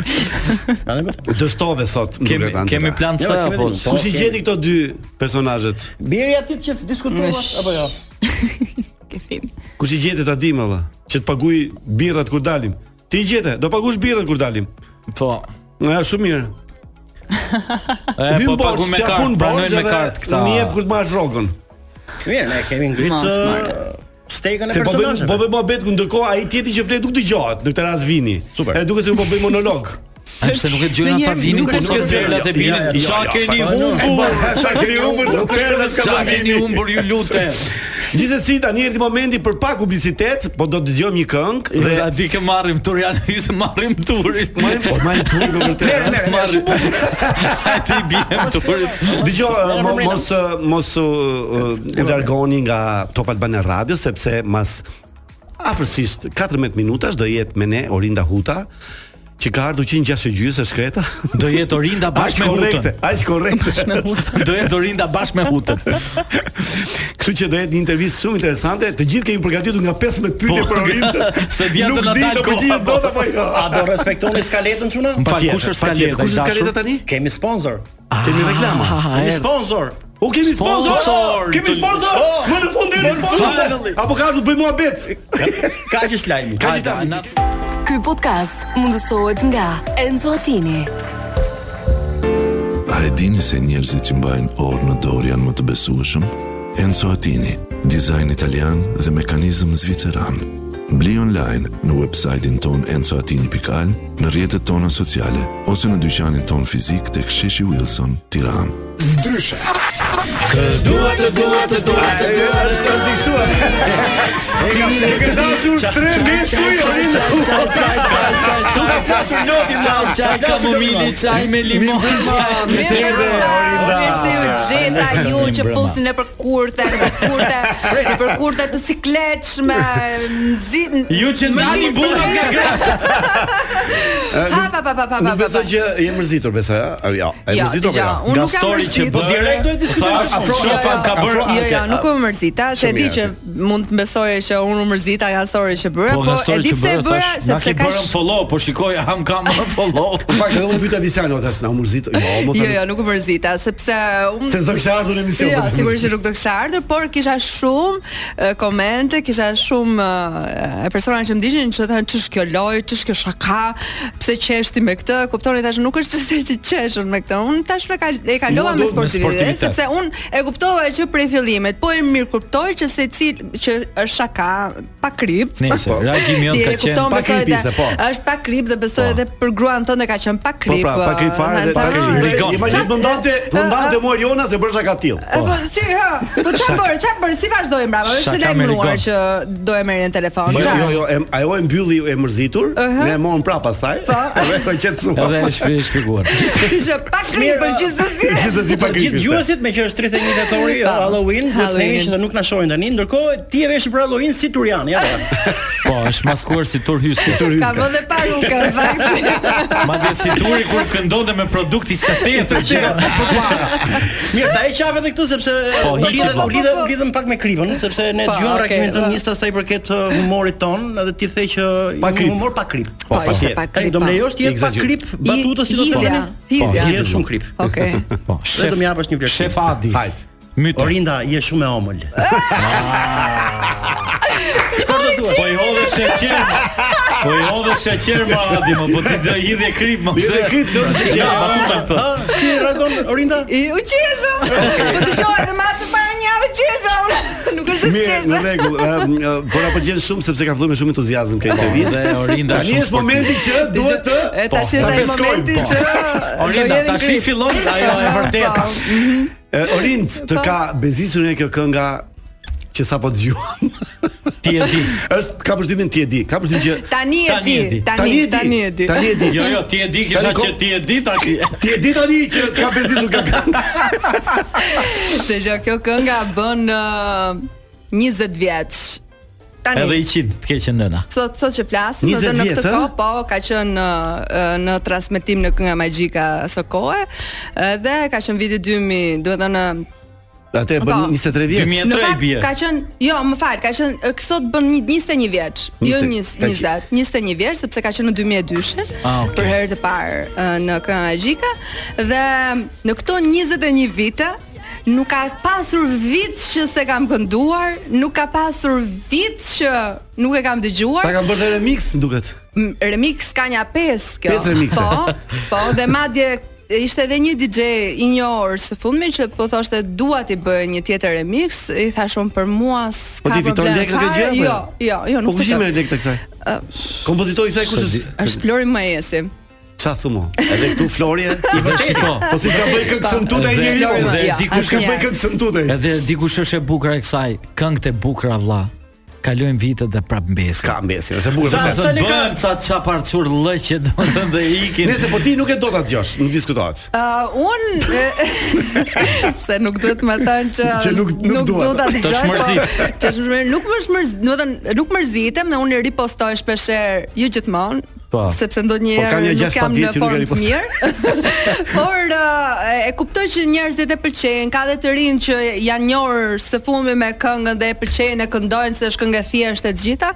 S8: Do shtove sot, më
S11: Kemi-
S8: duket Antela.
S11: kemi plan C, Jo, kemi apo? plan.
S8: Kush i
S4: Po,
S8: gjeti këto dy personazhet?
S4: Biri atit që diskutova
S15: Nësh.
S4: apo jo?
S8: Kush i gjeti ta dim valla, që të paguaj birrat kur dalim. Ti i gjete, do pagush birrat kur dalim.
S11: Po.
S8: Ja, shumë mirë.
S11: E
S8: Hyn
S11: po
S8: borx,
S11: paguajmë me
S8: t'ja
S11: kartë,
S8: pun borx
S11: pranojnë me
S8: edhe
S11: kartë këta.
S8: Mi jep kur të marrësh rrogën.
S4: Mirë, ne kemi ngrit
S15: Mas,
S4: uh, stekën e
S8: Se po bëjmë po
S4: personazheve.
S8: bëjmë mohabet ku ndërkohë ai tjetri që flet nuk dëgjohet, në këtë rast vini.
S4: Super.
S8: E duket se po bëj monolog.
S11: A pse nuk e gjojnë ata vinin kur sot gjelat e vinin? Qa keni humbur?
S8: Qa keni humbur? Qa keni humbur?
S11: Qa keni humbur ju lutem?
S8: Gjithsesi tani erdhi momenti për pak publicitet, po do të dëgjojmë një këngë
S11: Dhe
S8: dhe
S11: a di ke marrim turian hyse marrim turin.
S8: Marrim po, marrim turin me vërtetë.
S11: Merë, merë, A ti bjem turit.
S8: Dgjoj, uh, mo- mos uh, mos u uh, u largoni nga Top Albana Radio sepse mas afërsisht 14 minutash do jetë me ne Orinda Huta që ka ardhur 106 gjysë e shkreta.
S11: Do jetë Orinda bashkë me
S8: korrekte,
S11: hutën.
S8: aq korrekte.
S11: Do jetë Orinda bashkë me hutën.
S8: Kështu që do jetë një intervistë shumë interesante. Të gjithë kemi përgatitur nga 15 pyetje
S11: Po,
S8: për Orindën.
S11: se dia do na
S8: Nuk di
S11: dalë
S8: do
S11: koha,
S8: përgjigjet
S11: po.
S8: dot apo jo.
S4: A do respektoni skaletën çuna?
S11: Më fal,
S8: Patjetër,
S11: kush është
S8: patjetër.
S11: skaleta?
S8: Kush është skaleta tani?
S4: Kemi sponsor.
S8: Kemi reklama.
S4: Kemi sponsor.
S8: U kemi sponsor.
S11: Sponsor,
S8: Kemi
S11: të-
S8: sponsor.
S4: Oh,
S8: Më në fund deri në
S11: finally.
S8: fund. Apo ka ardhur bëj muhabet.
S4: Ka që lajmi.
S8: Ka
S11: Hajde,
S8: gjithë
S11: na-
S1: Ky podcast mundësohet nga Enzo Attini.
S2: A e dini se njerëzit që mbajnë orë në dorë janë më të besueshëm? Enzo Attini, dizajn italian dhe mekanizëm zviceran. Bli online në website-in ton enzoatini.al, në rrjetet tona sociale, ose në dyqanin ton fizik të ksheshi Wilson, tiran.
S7: Ndryshe. Të dua të dua të dua të dua të të zgjisua. E kam e kam dashur tre meshkuj Orinda.
S4: Çaj çaj çaj çaj çaj çaj çaj loti ma.
S11: Çaj ka momili, çaj me limon, çaj me
S7: Mirë, Orinda.
S6: Mirë se ju gjeta ju që
S11: brëma.
S6: postin e për kurte, e për kurte, e për kurte të sikletshme, nxit.
S11: Ju që ndani burrat nga gratë.
S6: Ha pa pa pa pa pa.
S8: Unë besoj që je mërzitur besoj, a? Jo, e
S6: Jo,
S8: mërzitur
S6: dëgjoj,
S8: pra.
S6: unë
S11: Nga
S6: nuk kam
S11: story që
S6: mërzitur.
S11: bë.
S4: Direkt duhet diskutojmë
S11: Thash,
S4: shumë.
S11: afro,
S6: Jo,
S11: afro,
S6: jo.
S11: ka bërë.
S6: Jo, jo,
S8: okay,
S6: nuk
S8: a-
S6: u mërzita, se
S8: Shumë
S6: di
S8: mirë,
S6: që mund të besoje që unë u mërzita nga story që bëra,
S11: Po
S6: po
S11: nga
S6: e
S11: story
S6: di
S11: që
S6: pse e
S11: bëra,
S6: bëra
S11: thash, na
S6: sepse
S11: ke
S6: ka
S11: bërë
S6: sh-
S11: follow, po shikoj, ham kam follow.
S8: Fakt, edhe unë pyeta Visano tash na u mërzit. Jo, mos
S6: Jo,
S8: tani.
S6: jo, nuk u mërzita, sepse unë
S8: Se do kisha ardhur në emision.
S6: Jo,
S8: për të
S6: sigurisht që
S8: mërzit.
S6: nuk do kisha ardhur, por kisha shumë e, komente, kisha shumë e, e persona që më diqin që thonë ç'është kjo lojë, ç'është kjo shaka, pse qeshti me këtë? Kuptoni tash nuk është çështje që qeshën me këtë. Unë tash me kal e kalova
S11: Mua
S6: me
S11: duhet me
S6: sportivitet,
S11: sportivitet.
S6: sepse unë e kuptova që prej fillimit, po e mirë kuptoj që secil që është shaka pa krip.
S11: Nëse, reagimi
S6: Po. Ti
S11: jënë ka
S6: e
S11: qenë
S6: kupton
S8: pa
S6: besoj
S8: krip
S6: edhe
S8: ishte, po.
S6: është pa krip dhe besoj
S11: Po,
S6: edhe për gruan tënde ka qenë pa
S8: Po
S6: krip.
S8: pra, pa
S6: e,
S8: krip fare dhe
S6: Hansaraj.
S8: tani
S11: Rigon.
S8: Ima që mëndante, mëndante mua Jona se bërsha ka tillë.
S6: E, Po si ha, po çfarë bër, çfarë bër, si vazhdojmë brava, është
S11: Shaka
S6: lajmëruar
S11: Amerikan.
S6: që do e merrin telefon.
S8: Jo,
S6: Çfarë?
S8: jo, jo, em- ajo e mbylli e mërzitur,
S6: Aha.
S8: ne e morëm prapë pastaj.
S6: Po.
S8: Dhe e qetësua.
S11: Edhe e shpi- e ah. shpjeguar.
S6: Kishe pa krip për po gjithsesi.
S8: Gjithsesi
S11: Po,
S8: pa
S4: Për
S8: kripë.
S4: gjithë gjuesit me që është 31 tetori
S6: Po.
S4: Halloween, do të themi
S6: Halloween.
S4: që nuk na shohin tani, ndërkohë ti e vesh për Halloween si Turian, ja.
S11: Po, është maskuar si turhysi.
S6: Ka vënë dhe parukën.
S11: Madje si turi kur këndonte me produkt i statetër që
S4: Mirë, ta e qap edhe këtu sepse eh,
S11: Po,
S4: u
S11: hiqi
S4: lidhem
S11: vllai.
S4: u lidhem u lidhem pak me kripën, sepse ne
S1: Po,
S4: dëgjojmë
S1: okay,
S4: rakimin
S1: po.
S4: tënd njësta sa i përket uh, humorit ton, edhe ti the që
S1: Pa
S4: një
S1: krip.
S4: humor pa krip.
S1: Po, pa.
S4: ishte
S1: Pa
S4: pa
S1: krip,
S4: krip. Do më
S1: pa.
S4: lejosh të jetë pa
S1: Exagjer.
S4: krip batutës që do të
S1: Hilja,
S4: bëni?
S1: hilja.
S4: Po, je shumë krip.
S1: Okej.
S11: Po,
S4: Shef, vetëm japësh një vlerë.
S11: Shef Adi.
S4: Hajt.
S11: Mytë.
S4: Orinda, je shumë e omël. Çfarë do thua?
S11: Po i
S8: jo,
S11: hodhe sheqer. Po i hodhe sheqer më Adi, më po ti do hidhe krip më pse?
S4: Hidhe krip, do të sheqer.
S11: Ja, batuta po.
S4: Ha, si reagon Orinda?
S6: I u qesha. Po dëgjoj edhe më atë para një javë qesha. unë. Nuk është se
S8: Mirë, në
S6: qesha.
S8: rregull. ëm, ë, Po na pëlqen shumë sepse ka filluar me shumë entuziazëm këtë
S11: Po,
S8: intervistë.
S11: dhe Orinda
S8: Tani
S11: shumë
S8: është momenti që
S11: sportive.
S8: duhet të
S6: E, tash
S8: Po,
S6: është
S8: ta
S6: ai
S8: peskojmë,
S6: momenti
S8: po.
S6: që-
S11: Orinda,
S6: Do jerim
S11: tash i
S6: krip.
S11: fillon ajo e
S6: Po,
S11: vërteta.
S8: E, Orind, të ka bezisur një kjo kënga që sapo dëgjuam.
S11: Ti e di.
S8: Është ka përshtymin ti e di. Ka përshtymin që
S6: Tani e di, tani, tani e di.
S8: Tani e di.
S11: Jo, jo, ti e di, kisha
S8: Tani ko-
S11: që ti e di tash.
S8: Ti e di tani që ka bezisur ka kënga.
S6: Dhe gjë kjo kënga bën ë, 20 vjeç. Tani
S11: Edhe i qim, të keqen nëna.
S6: Sot sot që flasim,
S11: 20
S6: do në këtë
S11: vjet,
S6: kohë,
S11: ë?
S6: po ka qenë në, në transmetim në kënga magjika së kohë, dhe ka qenë viti 2000, do të thënë
S8: Atë e bën
S6: Po.
S8: 23 vjeç.
S6: Në fakt, Ka qenë, jo, më fal, ka qenë ë, k- sot bën një- 21 vjeç. Jo
S8: 20,
S6: 20,
S8: ka
S6: 20, 21 vjeç sepse ka qenë në 2002-shin
S8: Ah, okay.
S6: për herë të parë ë, në Këngë Magjika dhe në këto 21 vite nuk ka pasur vit që se kam kënduar, nuk ka pasur vit që nuk e kam dëgjuar.
S8: Ta kanë bërë dhe remix, më duket.
S6: M- remix ka nja 5 kjo.
S8: Pesë remixe.
S6: Po, po dhe madje ishte edhe një DJ i njohur së fundmi që po thoshte dua ti bëj një tjetër remix, i thashon për mua s'ka
S8: Po ti fiton
S6: problem
S8: lekë këtë
S6: fare."
S8: gjë? apo
S6: Jo, jo, jo, nuk
S8: Po kush i
S6: fiton.
S8: merr lekë të kësaj? Kompozitori i kësaj kush
S6: Është- Është Flori Majesi.
S8: Ça thumo? Edhe këtu Flori i
S11: vërtet.
S8: Po, po si s'ka bëj këngë sëmtutej
S11: Edhe-
S8: njeriu.
S11: Edhe dikush
S8: s'ka bëj këngë sëmtutej.
S11: Edhe dikush është e bukur e kësaj, këngët e bukura vlla. Kalojnë vitet dhe prap mbesin. Ska
S8: mbesin, është e bukur.
S11: Sa
S8: vërtet.
S11: sa
S8: Sa
S11: ne
S8: ne ka-
S11: kanë sa çaparcur lëqe domethënë dhe ikin.
S8: Nëse po ti nuk e do ta dëgjosh, nuk diskutohet.
S6: Uh, un se nuk duhet më thënë që
S8: Që nuk- nuk
S6: do
S8: duhet.
S6: ta
S8: Të
S6: dëgjoj. po,
S8: shmërzit.
S6: Që është shmërzit. Nuk më shmërz, do të thënë nuk mërzitem dhe unë i ripostoj shpeshherë, jo gjithmonë,
S8: Po.
S6: sepse
S8: Po, ka
S6: ndonjëherë
S8: një
S6: nuk
S8: gjashtë
S6: jam
S8: padje
S6: në
S8: që nuk e po
S6: formë të
S8: ripostoj.
S6: mirë. Por uh, e kuptoj që njerëzit e pëlqejnë, ka dhe të rinë që janë njohur së fundmi me këngën dhe e pëlqejnë, e këndojnë se është këngë e thjeshtë e të gjitha.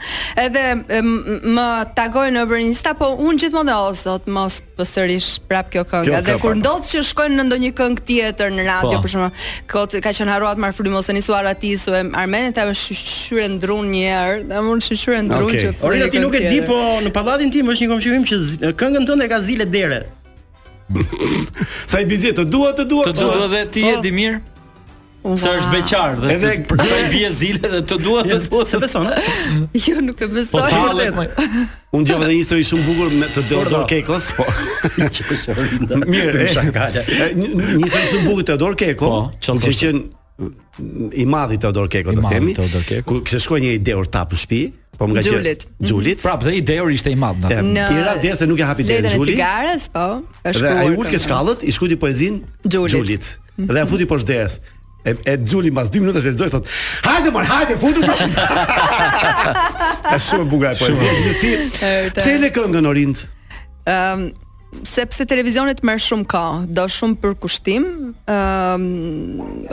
S6: Edhe e, m- më tagojnë nëpër Insta, po unë gjithmonë o zot mos pësërish prap kjo këngë.
S17: Kjo
S6: Dhe
S17: ka
S6: kur
S17: pak.
S6: ndodh që shkojnë në ndonjë këngë tjetër në radio,
S17: Po.
S6: për shembull, kot ka qenë harruat Mar Frymos ose Nisuar Atis ose Armeni, ta shqyrë ndrun një herë, dhe unë shqyrë ndrun
S4: Okej.
S6: që.
S4: Orinda ti nuk e di, po në pallatin tim është një komshirim që zi- këngën tënde ka zile dere.
S8: Sa i bizje, të dua, të dua. po.
S11: Të dua edhe ti e di mirë.
S6: Po.
S11: Sa është beqar dhe edhe
S8: Edhe-
S11: për sa i bie zile dhe të dua të dua.
S4: Se beson, a?
S6: Jo, nuk e
S11: Po
S6: besoj.
S11: hallet.
S8: Unë djova edhe një histori shumë bukur me të Teodor Kekos, po. Mirë, e,
S4: Shakale.
S8: e, një një histori shumë bukur Teodor Keko, që ka qenë Po, i madhi Teodor Keko,
S11: I
S8: do
S11: madhi
S8: themi.
S11: Teodor Keko.
S8: Kur kishte shkuar një ideur tap në shtëpi, po më ka qenë
S6: Gjulit.
S8: Gjulit. Pra,
S11: Prap dhe ideori ishte i madh.
S8: E, I ra djerë se nuk e hapi derën
S6: Letën e
S8: Gjuli.
S6: cigares, po. ka
S8: Dhe ai
S6: shkruar
S8: ul ke
S6: këngë.
S8: shkallët, i shkuti poezin
S6: Gjulit.
S8: Gjulit. Dhe ja futi poshtë derës. E, e Gjuli mbas 2 minutash e lexoi thotë, "Hajde mor, hajde, futu." Është shumë e bukur e poezia.
S6: Shumë.
S8: Si
S6: E,
S8: pse e le këngën Orint?
S6: Ëm sepse televizionit merr shumë kohë, do shumë për kushtim. Ëm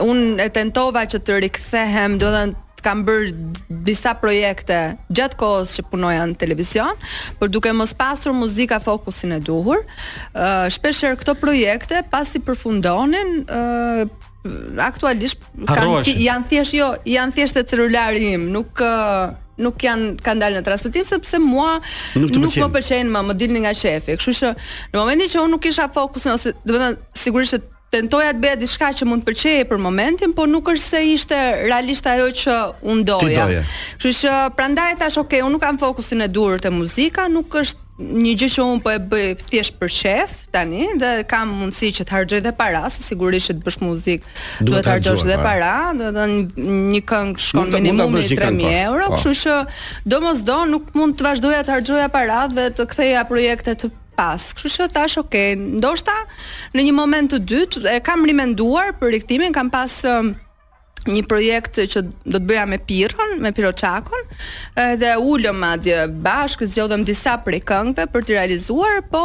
S6: unë e tentova që të rikthehem, do të thënë të kam bërë d- disa projekte gjatë kohës që punoja në televizion, por duke mos pasur muzika fokusin e duhur. Ë shpeshherë këto projekte pasi përfundonin, ë aktualisht kanë
S17: Harroheshin.
S6: janë thjesht jo, janë thjesht e celulari im, nuk ë, nuk janë kanë dalë në transmetim sepse mua
S17: Nuk të
S6: nuk
S17: pëlqen.
S6: më pëlqejnë më, më dilni nga shefi. Kështu që në momentin që unë nuk kisha fokusin ose do të thënë sigurisht që tentoja të bëja diçka që mund të pëlqejë për momentin, por nuk është se ishte realisht ajo që unë
S17: Ti
S6: doja.
S17: doje.
S6: Kështu që prandaj tash okay, unë nuk kam fokusin e durr te muzika, nuk është një gjë që unë po e bëj thjesht për qef tani dhe kam mundësi që të harxoj dhe para, se sigurisht që të bësh muzikë
S17: Duhet
S6: duhet
S17: të
S6: të harxosh
S17: harxoar
S6: dhe
S17: para.
S6: para, do të thënë një këngë
S17: Mund ta-
S6: shkon
S17: mund ta
S6: minimumi
S17: bësh një këngë,
S6: 3000
S17: po.
S6: euro,
S17: Po.
S6: kështu që domosdo nuk mund të vazhdoja të harxoja para dhe të ktheja projekte të pas. Kështu që thash, ok, ndoshta në një moment të dytë e kam rimenduar për rikthimin, kam pas ëm,
S11: um, një projekt që do të bëja me Pirrën, me Piroçakun, edhe ulëm madje bashkë, zgjodhëm disa prej këngëve për të realizuar, po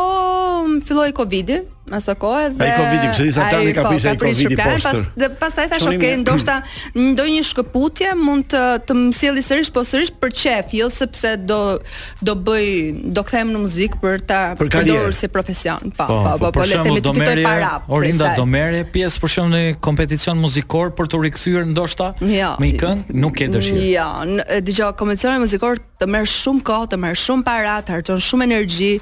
S11: m, filloi Covidi, asë kohë dhe
S8: Ai Covidi, kështu disa
S11: ai,
S8: tani ka
S11: po,
S8: prish ai
S11: prish
S8: Covidi
S11: plan,
S8: poshtër.
S11: Pas, dhe pastaj thash,
S8: Shonim
S11: ok,
S8: ne."
S11: ndoshta ndonjë shkëputje mund të të më sjelli sërish, po sërish për qef, jo sepse do do bëj, do kthehem në muzikë për ta
S6: Për karrierë.
S11: përdorur si profesion. Po, po, po, po, le të themi
S6: do
S11: të fitoj
S6: merje-
S11: para. prej
S6: Orinda
S11: saj.
S6: do merre pjesë për shembull në kompeticion muzikor për të rikthyer ndoshta
S11: Jo.
S6: me një këngë, nuk ke dëshirë.
S11: Jo, n- e, dëgjoj, kompeticioni muzikor të merr shumë kohë, të merr shumë para, të harxhon shumë energji.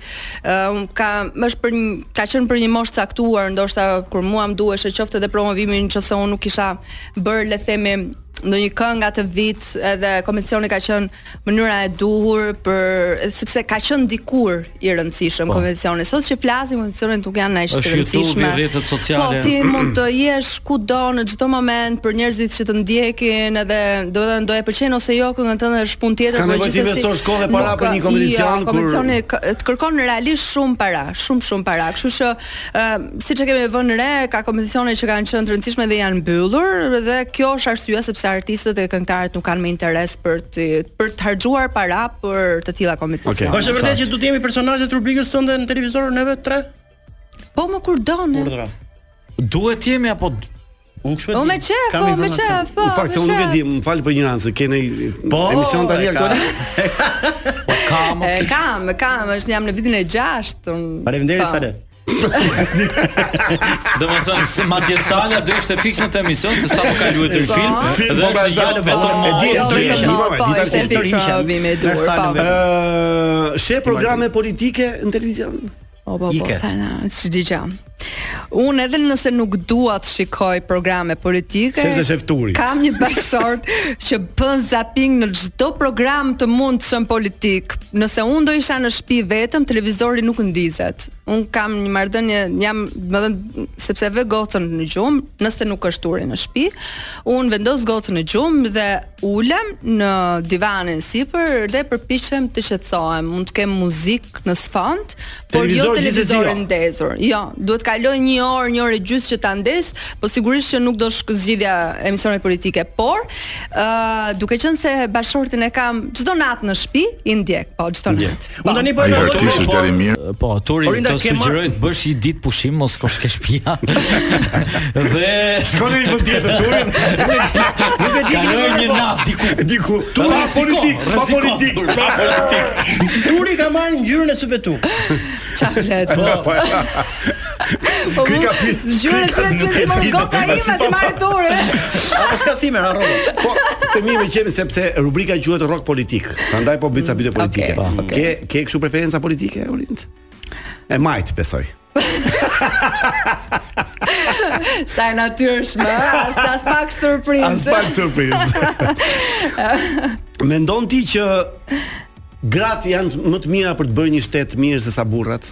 S11: Ëm ka është për një, ka qenë për një moshë caktuar, ndoshta kur mua më duheshte qoftë edhe promovimin, nëse unë nuk kisha bërë le të themi ndonjë këngë atë vit edhe kompeticioni ka qenë mënyra e duhur për sepse ka qenë dikur i rëndësishëm
S6: Po.
S11: kompeticioni. Sot që flasim kompeticionin nuk janë aq të
S6: Është
S11: rëndësishme.
S6: YouTube-i, rrjetet sociale.
S11: Po ti mund të jesh kudo në çdo moment për njerëzit që të ndjekin edhe do të thënë do e pëlqen ose jo këngën tënde është punë tjetër,
S8: S'ka
S11: por
S8: nevojë ti
S11: gjithsesi
S8: investosh kohë dhe para
S11: nuk-
S8: për një
S11: jo,
S8: kompeticion kur-
S11: kompeticioni k- të kërkon realisht shumë para, shumë shumë para. Kështu që ë, siç e kemi vënë re, ka kompeticione që kanë qenë të rëndësishme dhe janë mbyllur dhe kjo është arsyeja sepse artistët e këngëtarët nuk kanë më interes për të për të harxuar para për të tilla kompeticione.
S4: Po, Është e vërtet që do të jemi personazhet të rubrikës sonde në televizor neve tre?
S11: Po më kur donë.
S6: Duhet jemi apo
S4: Unë kështu
S11: Po me qef, po me qef, po.
S8: Në fakt se
S11: me
S8: unë nuk e
S11: qef.
S8: di, më fal për ignorancë, keni
S4: Po,
S8: emision tani
S4: e ka.
S8: aktualisht?
S11: E kam, e kam, është jam në vitin e 6.
S4: Faleminderit Sale.
S6: Domethënë se madje sala do ishte fikse në të emision se sa po ka luajë të film
S8: Film,
S6: dhe
S8: po,
S6: është
S8: pra,
S6: jo
S8: Sale,
S6: vetëm
S8: po,
S6: e
S8: e di, e di, e di, po, e di, tash
S11: ishte
S8: e di,
S11: fikse
S8: tash e di.
S11: vimi i dur,
S8: Tash Sale,
S11: po.
S8: po. Ë, She programe politike në televizion.
S11: Po, po, po,
S8: Ike.
S11: sa na, që digja. Unë edhe nëse nuk dua të shikoj programe politike,
S8: Se se shef turi.
S11: kam një bashort që bën zapping në çdo program të mundshëm politik. Nëse unë do isha në shtëpi vetëm, televizori nuk ndizet. Unë kam një marrëdhënie, jam, më dhënë, sepse vë gocën në gjumë, nëse nuk është turi në shtëpi, unë vendos gocën në gjumë dhe ulem në divanin sipër dhe përpiqem të qetësohem. Mund të kem muzikë në sfond, por jo
S8: Televizor gjithsesi jo.
S11: televizorin ndezur. Jo, duhet kaloj një orë, një orë e gjysmë që ta ndes, po sigurisht që nuk do shk zgjidhja emisionet politike, por ë duke qenë se bashortin e kam çdo natë në shtëpi, i ndjek, po çdo natë.
S4: Unë tani po
S11: po
S6: Ai
S4: e
S6: po,
S4: kaloj.
S6: po, Po, Turi
S4: Orinda,
S6: të
S4: ke marrë-
S6: sugjeroj të bësh një ditë pushim mos kosh ke shtëpia. Dhe
S8: Shkon në një vend tjetër Turi. Nuk e di
S6: Kaloj një natë diku.
S8: Diku.
S4: Turi,
S8: Pa
S4: rrezikon,
S8: politik, pa
S4: rrezikon,
S8: politik,
S4: Turi.
S8: pa politik.
S4: Turi ka marrë ngjyrën e syvetu.
S11: çaflet. Po, po.
S4: Ky ka
S11: mu- Gjyre se
S4: nuk
S11: të
S4: e
S11: marr
S4: di, nuk
S11: goka
S4: e
S11: ime
S4: di,
S11: të
S4: po,
S11: marrë tore.
S4: Apo s'ka simer harro.
S8: Po, të mirë më qenë sepse rubrika quhet rock politik. Prandaj po bëj ca pyetje politike. Ke ke kështu preferenca politike, Orint? E majt, besoj.
S11: Sa e natyrshme, as, as pak surprizë.
S8: As pak surprizë. Mendon ti që gratë janë më të mira për të bërë një shtet mirë se sa burrat?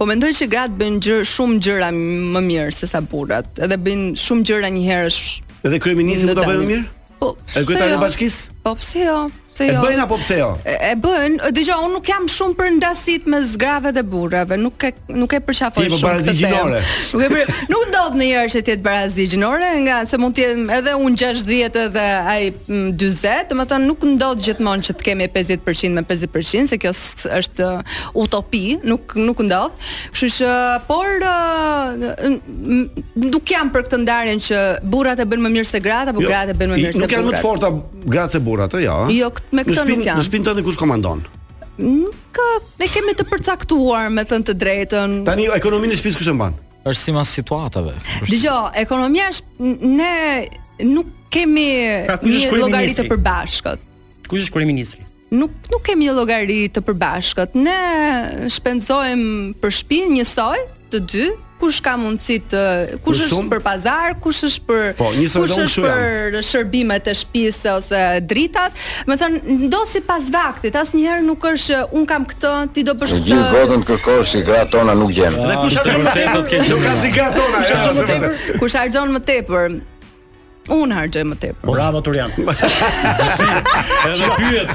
S11: Po mendoj që gratë bëjnë gjë, shumë gjëra më mirë se sa burrat, edhe bëjnë shumë gjëra një herë. sh-
S8: Edhe kryeministri
S11: në
S8: mund ta bëjë më
S11: dalim.
S8: mirë?
S11: Po.
S8: Edhe kryetari
S11: pse
S8: i
S11: jo?
S8: bashkisë?
S11: Po pse jo? Pse
S8: E
S11: jo?
S8: bëjnë apo pse jo?
S11: E, e bën, dëgjoj, unë nuk jam shumë për ndasit mes grave dhe burrave, nuk e nuk e
S8: Ti
S11: përqafoj
S8: po je për
S11: shumë
S8: barazi
S11: këtë
S8: gjinore.
S11: temë. Nuk e për, nuk ndodh ndonjëherë që të jetë barazi gjinore, nga se mund të jem edhe unë 60 edhe ai mm, 40, domethënë nuk ndodh gjithmonë që të kemi 50% me 50%, se kjo s- është uh, utopi, nuk nuk ndodh. Kështu që por uh, n- n- nuk jam për këtë ndarjen që burrat e bëjnë më mirë se gratë apo
S8: Jo,
S11: gratë e bëjnë më
S8: i-
S11: mirë se burrat.
S8: Nuk janë më të forta gratë se burrat, ë, jo. ë?
S11: Jo, kët-
S8: Në
S11: me këtë nuk
S8: shtëpinë-
S11: janë.
S8: Në shtëpinë tënde kush komandon?
S11: Nuk ne kemi të përcaktuar me thënë të drejtën.
S8: Tani ekonominë e shtëpisë kush e mban?
S6: Është sipas situatave.
S11: Dgjoj, ekonomia është n- ne nuk kemi
S4: Pra, kush është
S11: një
S4: kryeministri?
S11: llogari të përbashkët.
S4: Kush është kryeministri?
S11: Nuk nuk kemi një llogari të përbashkët. Ne shpenzojmë për shtëpinë njësoj, të dy, kush ka mundësi të kush
S8: Për
S11: është
S8: shumë?
S11: për pazar, kush është për
S8: Po, njësoj
S11: kush
S8: dhe unë kështu
S11: është
S8: jam.
S11: për shërbimet e shtëpisë ose dritat. Do të thënë, ndo sipas vaktit, asnjëherë nuk është un kam këtë, ti do bësh
S18: Në
S11: këtë.
S18: gjithë botën kërkosh si gratë tona nuk gjen.
S8: Dhe kush është më tepër? Nuk ka si gratë tona.
S11: Kush
S8: ja,
S11: harxhon
S8: se
S11: më tepër?
S8: vërtet.
S11: Kush harxhon më tepër? Unë harxoj më tepër.
S4: Bravo Turian.
S6: Edhe pyet.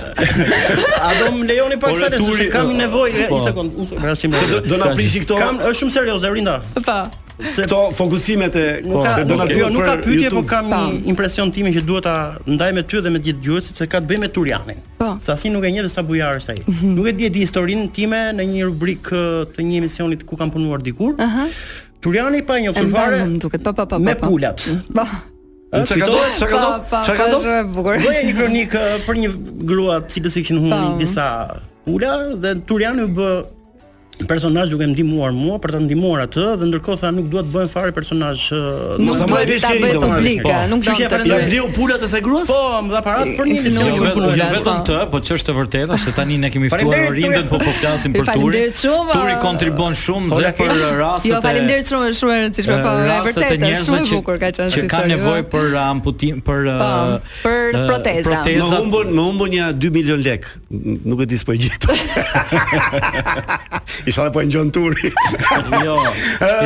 S4: A do më lejoni pak
S8: Ore,
S4: sa
S8: Turi,
S4: se kam
S8: ë,
S4: nevojë,
S8: po.
S4: një sekond, unë rasim.
S8: Se do- do na prishi këto-
S4: Kam është shumë serioze Rinda.
S11: Po.
S8: Këto fokusimet e
S4: Nuk ka,
S8: e
S4: nuk,
S8: Donald
S4: jo,
S8: Trump
S4: nuk ka
S8: për
S4: pyetje, po
S8: YouTube.
S4: kam një impresion time që duhet ta ndaj me ty dhe me gjithë dëgjuesit se ka të bëjë me Turianin.
S11: Po. Mhm.
S4: Se asnjë nuk e njeh se sa bujar është ai. Nuk e di e di historinë time në një rubrik ë, të një emisioni ku kam punuar dikur.
S11: Aha.
S4: Turiani pa një
S11: Ah. E
S4: fare
S11: mbarë më duket. Po po po.
S4: me pulat.
S11: Po.
S4: Ë,
S8: Çka
S4: kujtohet?
S8: ka ndodhur? Çka ka
S11: Pa,
S8: ndodhur?
S11: pa,
S8: Çka ka
S11: pa,
S8: ndodhur?
S11: Po, shumë e bukur.
S4: Bëja një kronikë për një grua të cilës i kishin
S11: Po.
S4: humbur disa pula dhe Turiani u bë personazh duke ndihmuar mua për ta ndihmuar atë dhe ndërkohë tha nuk dua të bëhem fare personazh ë,
S11: Nuk
S4: mos ta
S11: dua
S4: marrë
S11: ta
S4: vesh njeri,
S11: bëj
S4: domethënë.
S11: publike,
S4: Po.
S11: nuk
S4: Kështu
S11: dam
S4: që
S11: të
S4: pretendoj-
S11: Ja bliu
S8: pulat e saj gruas?
S4: Po, më dha parat për një emision
S6: Jo
S4: që
S6: vetëm,
S4: punoja.
S6: jo vetëm të, po ç'është e vërteta se tani ne kemi ftuar
S4: Faleminderit,
S6: Orindën,
S4: Turi.
S6: po po flasim për Turin.
S11: Faleminderit shumë.
S6: Turi kontribon shumë dhe për rastet
S11: Jo, faleminderit shumë, është shumë e rëndësishme, po e
S6: rastet e
S11: vërtetë, është
S6: njerëzve
S11: shumë e
S6: që
S11: bukur ka qenë. jo?
S6: që
S11: si
S6: kanë
S11: histori,
S6: nevojë
S11: ëh.
S6: për uh, amputim për uh,
S11: Po, për
S6: uh,
S11: proteza.
S8: Më
S6: protezat.
S8: humbën, më humbën një 2 milion lek. N- Nuk e di s'po e gjeto. Isha po e ngjon turi.
S6: jo,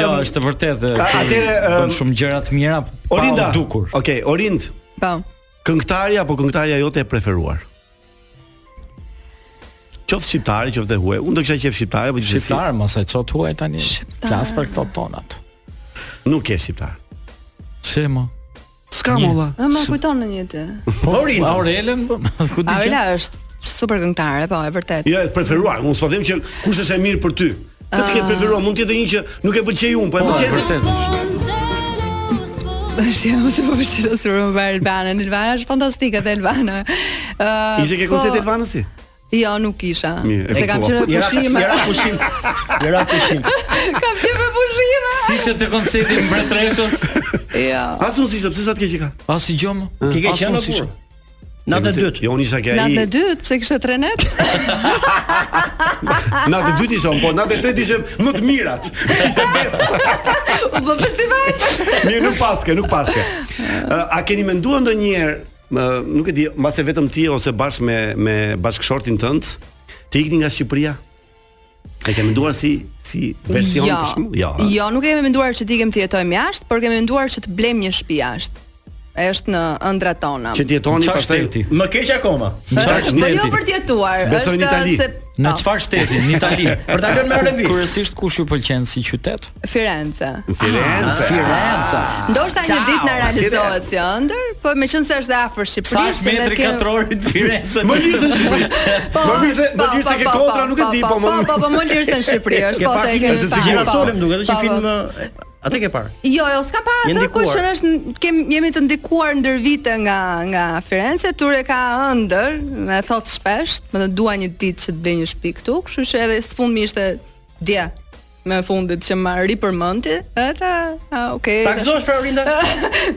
S6: jo, është e vërtetë.
S8: A-
S6: Turi
S8: atëre,
S6: bën
S8: ëm,
S6: shumë gjëra të mira. pa u
S8: Orinda.
S6: dukur.
S8: Okej, Orind.
S11: Po.
S8: Këngëtarja apo këngëtarja jote e preferuar? Qoftë shqiptare, qoftë dhe huaj. Unë do kisha qef shqiptare, po gjithsesi.
S6: Shqiptar, mos e çot huaj tani. Flas për këto tonat.
S8: Nuk je shqiptar.
S6: Se mo.
S8: S'ka
S6: Një. Po,
S8: molla.
S11: Ë, Ah, më kujton në një ti.
S8: Orinda.
S6: Aurelën,
S8: Po,
S6: ku di
S11: Avela është super këngëtare, po, e vërtet.
S8: Jo, e preferuar. Unë s'po them që kush është e mirë për ty. Të të ketë
S11: Ah.
S8: preferuar, mund të jetë një që nuk e pëlqej unë, po e
S6: Po,
S8: pëlqej.
S6: vërtet
S11: Është jam ose po përshira si më bërë Elbanën. Elbana është fantastike dhe Elbana. Uh,
S8: Ishte ke koncert Elvanës ti?
S11: Jo, nuk isha.
S8: Mirë, e
S11: Se kam
S8: kuptova.
S11: qenë
S8: Jera-
S11: pushime.
S8: jera pushim. Era kushin.
S11: kam qenë për pushime.
S6: Si që të koncertin mbretreshës?
S11: Jo.
S8: As unë s'ishte, pse sa të keq i ka?
S6: As i gjom.
S9: jo,
S8: Ti
S4: ke qenë apo?
S8: Natë e dytë. Jo, unë isha ke ai.
S11: Natë e dytë, pse kishe trenet?
S8: Natë e dytë isha unë, po natë e tretë ishe më të mirat.
S11: U bë festival.
S8: Mirë, nuk paske, nuk paske. Ë, A keni menduar ndonjëherë, ë, nuk e di, mbase vetëm ti ose bashkë me me bashkëshortin tënd, të ikni nga Shqipëria? E ke menduar si si version
S11: jo,
S8: për shembull? Jo.
S11: Jo,
S8: ha?
S11: nuk kemi menduar që ti kem të jetojmë jashtë, por kemi menduar që të blejmë një shtëpi jashtë. Është në ëndrat tona.
S8: Që të jetoni
S6: Qa
S8: po, pastaj.
S6: shteti?
S11: Po.
S4: Më keq akoma.
S11: Është- Po jo për të jetuar, Po,
S8: Besoj në Itali.
S6: Në çfarë shteti? Në Itali.
S4: Për ta lënë me Arabi.
S6: Kryesisht kush ju pëlqen si qytet?
S11: Firenze. Ah.
S8: Firenze.
S6: Firenze.
S8: Ah,
S11: Ndoshta një ditë na realizohet si ëndër, po meqense është dhe afër
S6: Sa
S11: Shqipërisë,
S6: është
S11: që ne
S6: metri
S11: kemi-
S6: katror i Firenzës?
S8: Më lirë se në Shqipëri.
S11: Po,
S8: Më lirë se më
S11: po,
S8: lirë se
S11: po,
S8: ke
S11: po,
S8: kontra,
S11: po,
S8: nuk e di,
S11: po,
S8: po më
S11: po, po, po, më lirë se në Shqipëri është, po, se e kemi
S8: Është
S11: parë,
S8: sigur
S11: po.
S8: solem duket, është
S11: Po,
S8: një
S11: po.
S8: film
S4: eh, Atë ke parë.
S11: Jo, jo, s'ka pa
S4: Je
S11: atë
S4: ndikuar.
S11: kushën është kem, jemi të ndikuar ndër vite nga nga Firenze, Ture ka ëndër, më thot shpesh, më të dua një ditë që të blej një shtëpi këtu, kështu që edhe sfundmi ishte dje në fundit që ma ripërmëndi, ata, a, okay.
S4: Ta gëzosh pra Orinda?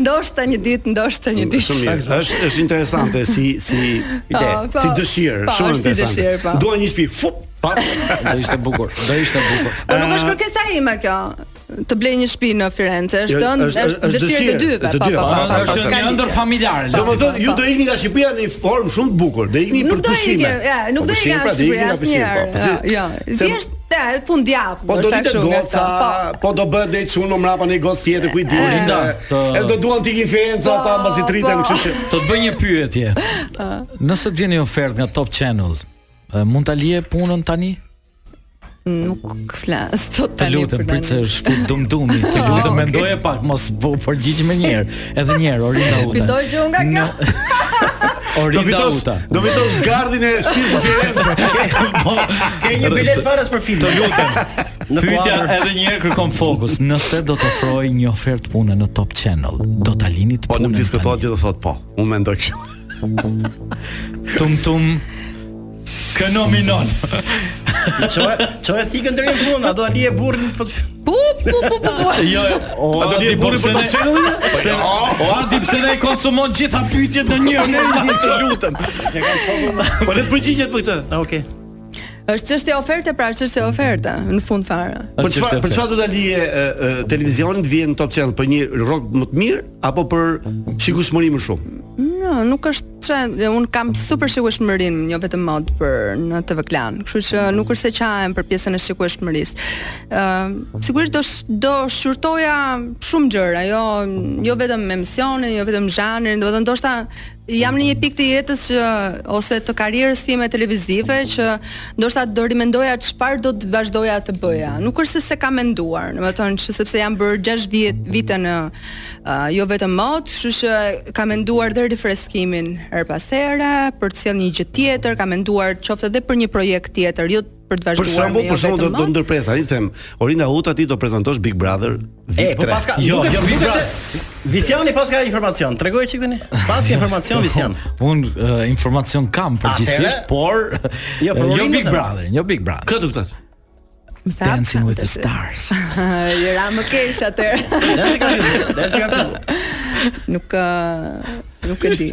S11: ndoshta një ditë, ndoshta një ditë.
S8: Shumë mirë. Është është interesante si si ide,
S11: Po, po.
S8: si dëshirë,
S11: Po,
S8: shumë
S11: është si dëshirë,
S8: interesante.
S11: po.
S8: Dua një shtëpi, fup,
S6: pa. Do ishte bukur. Do ishte bukur.
S11: Po nuk është kërkesa ime kjo. Të blej një shtëpi në Firenze, është
S8: Jo,
S11: ënd-
S8: është-
S11: është
S8: është
S11: dëshirë të
S8: dëshirë,
S11: dyve.
S8: të
S11: Po,
S8: dyve.
S11: po, po,
S8: Ah,
S11: po, po,
S6: Është një
S11: s'ka lidhje.
S6: ëndër familjare.
S8: Do të thonë ju
S11: po.
S8: do ikni nga Shqipëria në një formë shumë të bukur. Do ikni
S11: Nuk
S8: për
S11: do i
S8: pushime.
S11: ke, ja, nuk
S8: Po,
S11: do i
S8: pushime,
S11: ke
S8: pra, do ikni
S11: asnjë
S8: nga pushime,
S11: asnjëherë.
S8: po, pse-
S11: Jo,
S8: se-
S11: thjesht ja, fundjavë.
S8: Po do
S11: është
S8: ditë
S11: kështu nga
S8: goca,
S11: këto, po. Eh, po.
S8: po do bëhet dejt çunë mrapa në një gocë tjetër ku i di.
S6: Orinda, të-
S8: Edhe do duan ti influenca ata mbasi triten, kështu që
S6: Do të bëj një pyetje. Nëse të vjen një ofertë nga Top Channel, e, mund ta lije punën tani?
S11: po, Nuk flas sot
S6: Të
S11: tani.
S6: lutem,
S11: për
S6: prit se
S11: tani. Ah,
S6: është fut dumdumi. Të lutem, mendoje pak, mos u përgjigj më një herë. Edhe një herë, Orinda Uta.
S11: Fitoj gjë nga kjo.
S8: do
S6: Orinda
S8: fitosh,
S6: Uta.
S8: do fitosh gardhin e shtëpisë së Firenze.
S6: Po,
S4: Ke një bilet faras për film. Të
S6: lutem.
S4: Në
S6: Pyetja
S4: kuadër.
S6: edhe një herë kërkon fokus. Nëse do të ofroj një ofertë pune në Top Channel, do ta lini të
S8: Po
S6: punën.
S8: nuk diskutohet që do thot po. Unë mendoj kështu.
S6: tani? Tum tum. Kë nominon.
S4: Ço ço e thikën deri në fund, a do ali e burrin po të-
S11: Pu pu pu pu. pu.
S6: Jo, o,
S8: A
S11: Po,
S8: do vjen burri për Po, Top Channelin?
S6: Pse?
S8: jo.
S6: O, a di pse ne i konsumon gjitha pyetjet në një herë? Të lutem.
S8: Po le të përgjigjet për këtë.
S4: Ah, okay.
S11: Është çështje oferte, pra çështje oferte në fund fare.
S8: Për çfarë për çfarë do ta lije e, e, televizionin të vijë në Top Channel për një rrog më të mirë apo për shikueshmëri më shumë?
S11: Jo, nuk është Çe un kam super shikueshmërinë, jo vetëm mod për në TV Klan. Kështu që nuk është se qahem për pjesën e shikueshmërisë. Ëm sigurisht do sh- do shqyrtoja shumë gjëra, jo jo vetëm emisionin, jo vetëm zhanrin, do të ndoshta jam në një pikë të jetës që ose të karrierës time televizive që ndoshta do rimendoja çfarë do të vazhdoja të bëja. Nuk është se se kam menduar, domethënë që sepse jam bërë 60 vite në uh, jo vetëm mod, kështu që kam menduar dhe rifreskimin her pas here, për të sjellë një gjë tjetër, kam menduar qoftë edhe për një projekt tjetër, jo për
S8: Për
S11: të vazhduar.
S8: shembull,
S11: me jo
S8: për shembull do,
S11: vetëm
S8: do
S11: mod.
S8: ndërpres, tani them, Orinda Huta ti do prezantosh Big Brother.
S4: E, po paska,
S8: jo,
S4: duket-
S8: jo, Big
S4: duket
S8: Brother.
S4: se Visiani paska informacion. Tregoj çik tani. Paska informacion Visian.
S6: Un uh, informacion kam
S4: Atëherë-
S6: përgjithsisht, por
S4: Jo, për
S6: jo
S4: Orinën
S6: Big
S4: them.
S6: Brother, jo Big Brother.
S8: Kë duktat?
S6: Dancing with the Stars.
S11: I ra më keq atëherë.
S4: Dash ka filluar, dash ka filluar.
S11: Nuk uh, nuk e di.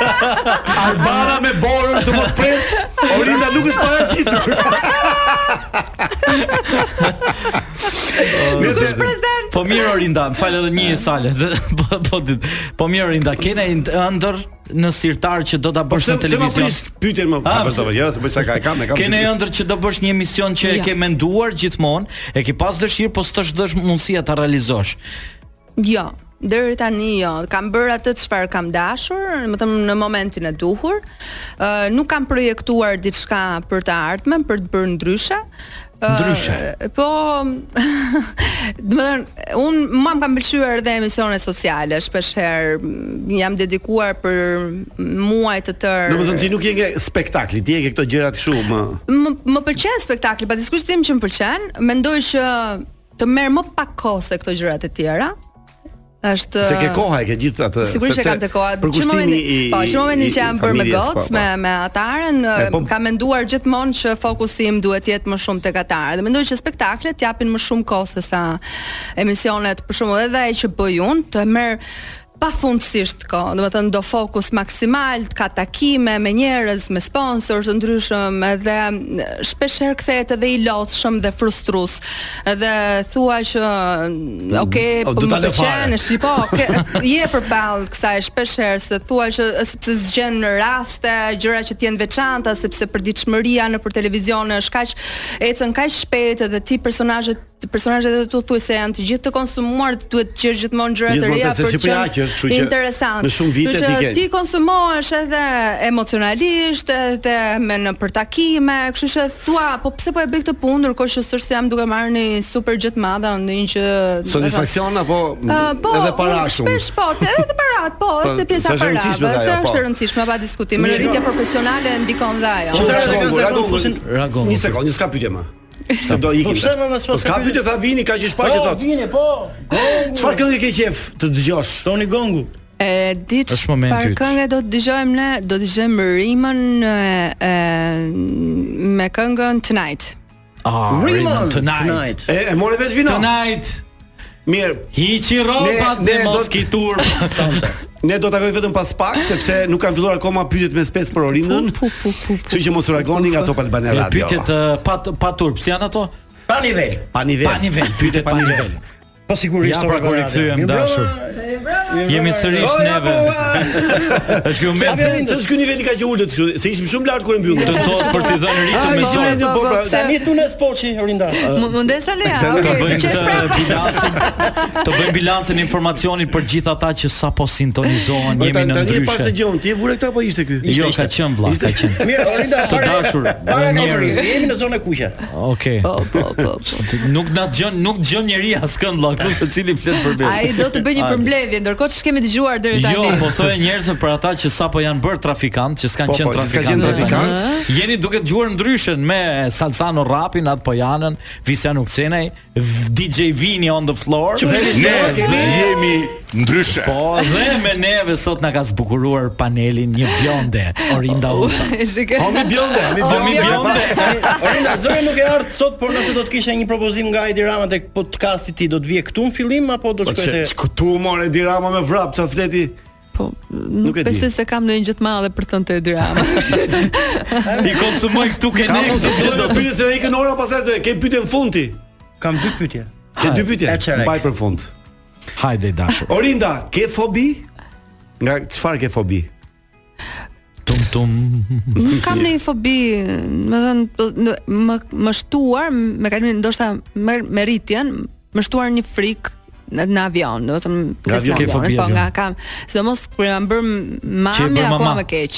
S8: Albana me borën të mos pres. Orinda nuk është paraqitur.
S6: Nëse prezant. Po mirë Orinda, më fal edhe një sale. po po dit. Po mirë Orinda, kena ind- ëndër në sirtar që do ta
S8: Po
S6: bësh
S8: pse
S6: në
S8: pse më
S6: televizion.
S8: pris pyetjen më?
S6: Ah,
S8: A po jo, se bëj sa ka kam, e kam.
S6: Kene
S8: zgjidhur.
S6: ëndër që do bësh një emision që e
S11: Jo.
S6: ke menduar gjithmonë, e ke pas dëshirë, po s'të shdosh mundësia ta realizosh.
S11: Jo, deri tani jo. Kam bërë atë çfarë kam dashur, më thëmë në momentin e duhur. Ë nuk kam projektuar diçka për të ardhmen, për të bërë ndryshe. Ë,
S6: Ndryshe?
S11: po, do të thënë, un mua më kanë pëlqyer edhe emisionet sociale, shpesh herë m, jam dedikuar për muaj të tërë.
S8: Domethënë ti nuk je nga spektakli, ti je ke këto gjëra kështu më.
S11: më më pëlqen spektakli, pa diskutim që më pëlqen. Mendoj që të merr më pak kohë se këto gjërat e tjera. Është
S8: Se ke koha, e ke gjithë atë.
S11: Sigurisht që
S8: sepse
S11: kam të koha. Që
S8: përkushtimi
S11: momentin,
S8: i-
S11: po, që momentin
S8: i-
S11: që jam
S8: i
S11: bërë me
S8: familjes,
S11: gocë,
S8: po, po.
S11: me me ataren,
S8: E, po-
S11: kam menduar gjithmonë që fokusi im duhet të jetë më shumë tek ataren. Dhe mendoj që spektaklet japin më shumë kohë se sa emisionet, për shembull, edhe ai që bëj unë, të merr pafundësisht kohë, do të thënë do fokus maksimal, ka takime me njerëz, me sponsor të ndryshëm, edhe shpesh herë kthehet edhe i lodhshëm dhe frustrues. Edhe thua që okay,
S8: O,
S11: po
S8: do ta
S11: më
S8: lë fare."
S11: pëlqen, shi po, ke, je përballë kësaj shpesh herë se thua që sepse zgjen në raste gjëra që të jenë veçanta sepse përditshmëria në për televizion është kaq ecën kaq shpejt edhe ti personazhet personazhet e tu thuaj se janë të gjithë të konsumuar, duhet të gjesh gjithmonë gjëra të
S8: Gjithmonë
S11: reja
S8: të- se
S11: për të
S8: Shqipëria që është, kështu
S11: qenë
S8: që
S11: interesant.
S8: në shumë vite
S11: Kështu që
S8: ti ke-
S11: ti konsumohesh edhe emocionalisht, edhe me në për takime, kështu që thua, po pse po e bëj këtë punë ndërkohë që s'është se jam duke marrë një super gjë të madhe, ndonjë që
S8: Satisfaksion apo
S11: Uh, po,
S8: edhe para
S11: unë
S8: shumë.
S11: Shpesh po, te- edhe parat, po,
S8: Po,
S11: edhe pjesa
S8: s'është e
S11: parave,
S8: rëndësishme dhe ajo,
S11: se është
S8: po.
S11: e rëndësishme pa diskutim. Në
S8: Mirë.
S11: rritje profesionale ndikon dhe ajo.
S8: Ragon. Një sekond, një s'ka pyetje më. Se do
S4: Po
S8: ikim.
S4: pse, ma, mos
S8: Po s'ka
S4: ka
S8: pyetje, tha vini, ka që shpaqje
S4: Po,
S8: thot.
S4: Vini, po.
S8: Çfarë këngë ke qef të dëgjosh?
S4: Toni Gongu.
S11: E diç
S8: Është momenti
S11: par
S8: yt.
S11: këngë do të dëgjojmë ne, do të dëgjojmë Rimën e, e, me këngën Tonight.
S6: Ah,
S8: Rimon,
S6: tonight.
S8: E, e morë vesh vino.
S6: Tonight.
S8: Mirë.
S6: Hiqi rrobat dhe mos ki turp.
S8: Ne do takojmë vetëm pas pak sepse nuk kanë filluar akoma pyetjet me spec për Orindën. Kështu që mos u reagoni nga Top Albana
S6: E,
S8: Radio.
S6: Pyetjet uh, pa pa turp, si janë ato?
S4: Pa nivel.
S8: Pa nivel.
S6: Pa nivel, pyetje pa nivel.
S4: Po sigurisht
S6: Ja,
S4: Orindën
S6: pra, kur e
S4: Radio.
S6: kthyem
S4: Mirë brava.
S6: dashur. Jemi sërish
S8: Ora,
S6: neve. Është ky
S8: Sa
S6: moment.
S8: vjen të shkë niveli ka që ulët, s'ky- se ishim shumë lart kur e mbyllëm.
S6: Tentohet për t'i dhënë ritëm
S8: Ai,
S6: e
S8: po,
S6: zorë.
S8: po, po, pra-
S4: Tani tu në spoçi Orinda.
S11: M- Mundesa Lea,
S6: Të
S11: okay,
S6: bëjmë
S11: dëgjosh
S6: të
S8: pra?
S11: prapë.
S6: bilancin, të bëjmë bilancin e informacionit për gjithë ata që sapo sintonizohen,
S8: Po,
S6: jemi
S8: tani-
S6: në
S8: Tani e pas të
S6: ndryshe.
S8: gjon, ti e vure këta apo ishte ky? Po,
S6: Jo, ka qenë vlla, ka qenë.
S4: Mirë, Orinda.
S6: Të
S4: para-
S6: dashur,
S4: Para nga
S6: njerëz.
S4: Orinda, jemi në zonë e kuqe.
S6: Okej.
S11: Po, po, po.
S6: Nuk na dëgjon, nuk dëgjon njeri askënd vlla, këtu secili flet për vetë.
S11: Ai do të bëj një përmbledhje, ndërkohë që kemi dëgjuar deri tani.
S6: Jo, po thoya njerëzve për ata që sapo janë bërë trafikant, që s'kan
S8: Po,
S6: qenë
S8: po, që s'kan
S6: trafikant.
S8: qenë
S6: deri tani.
S8: trafikant.
S6: Jeni duke dëgjuar ndryshen me Salsano Rapin, atë po Pojanën, Visian Uksenaj, DJ Vini on the floor.
S7: Që vjen Ne kemi- jemi ndryshe.
S6: Po, dhe me neve sot na ka zbukuruar panelin një bjonde, Orinda
S8: Jo.
S6: Uta.
S11: Homi
S8: Po, bjonde, homi
S6: Homi Po, bjonde.
S4: Orinda, zëri nuk e ardh sot, por nëse do të kishe një propozim nga Edi Rama tek podcasti ti, do të vije këtu në fillim apo do
S8: Po
S4: të shkojë
S8: çe këtu more dirama me vrap ça fleti.
S11: Po,
S8: nuk e di.
S11: Besoj se kam ndonjë gjë të madhe për të thënë te dy rama.
S6: I konsumoj këtu ke ne,
S8: Ka mos
S6: këtu
S8: të
S6: që do
S8: do pyetje se ikën ora pastaj do e ke pyetjen fundi.
S4: Kam dy pyetje.
S8: Ke dy pyetje.
S4: E çerek.
S8: Mbaj për fund.
S6: Hajde i dashur.
S8: Orinda, ke fobi? Nga çfarë ke fobi?
S6: Tum tum.
S11: Nuk kam një fobi, më thënë, po- në- më, më shtuar, me kalimin, ndoshta me, me rritjen, më shtuar një frikë në, në avion, do të thënë,
S8: Nga
S11: pjesë
S8: avion,
S11: në
S8: ke fobi
S11: avionit, po
S8: avion.
S11: nga kam, sidomos kur jam bërë mami apo më keq.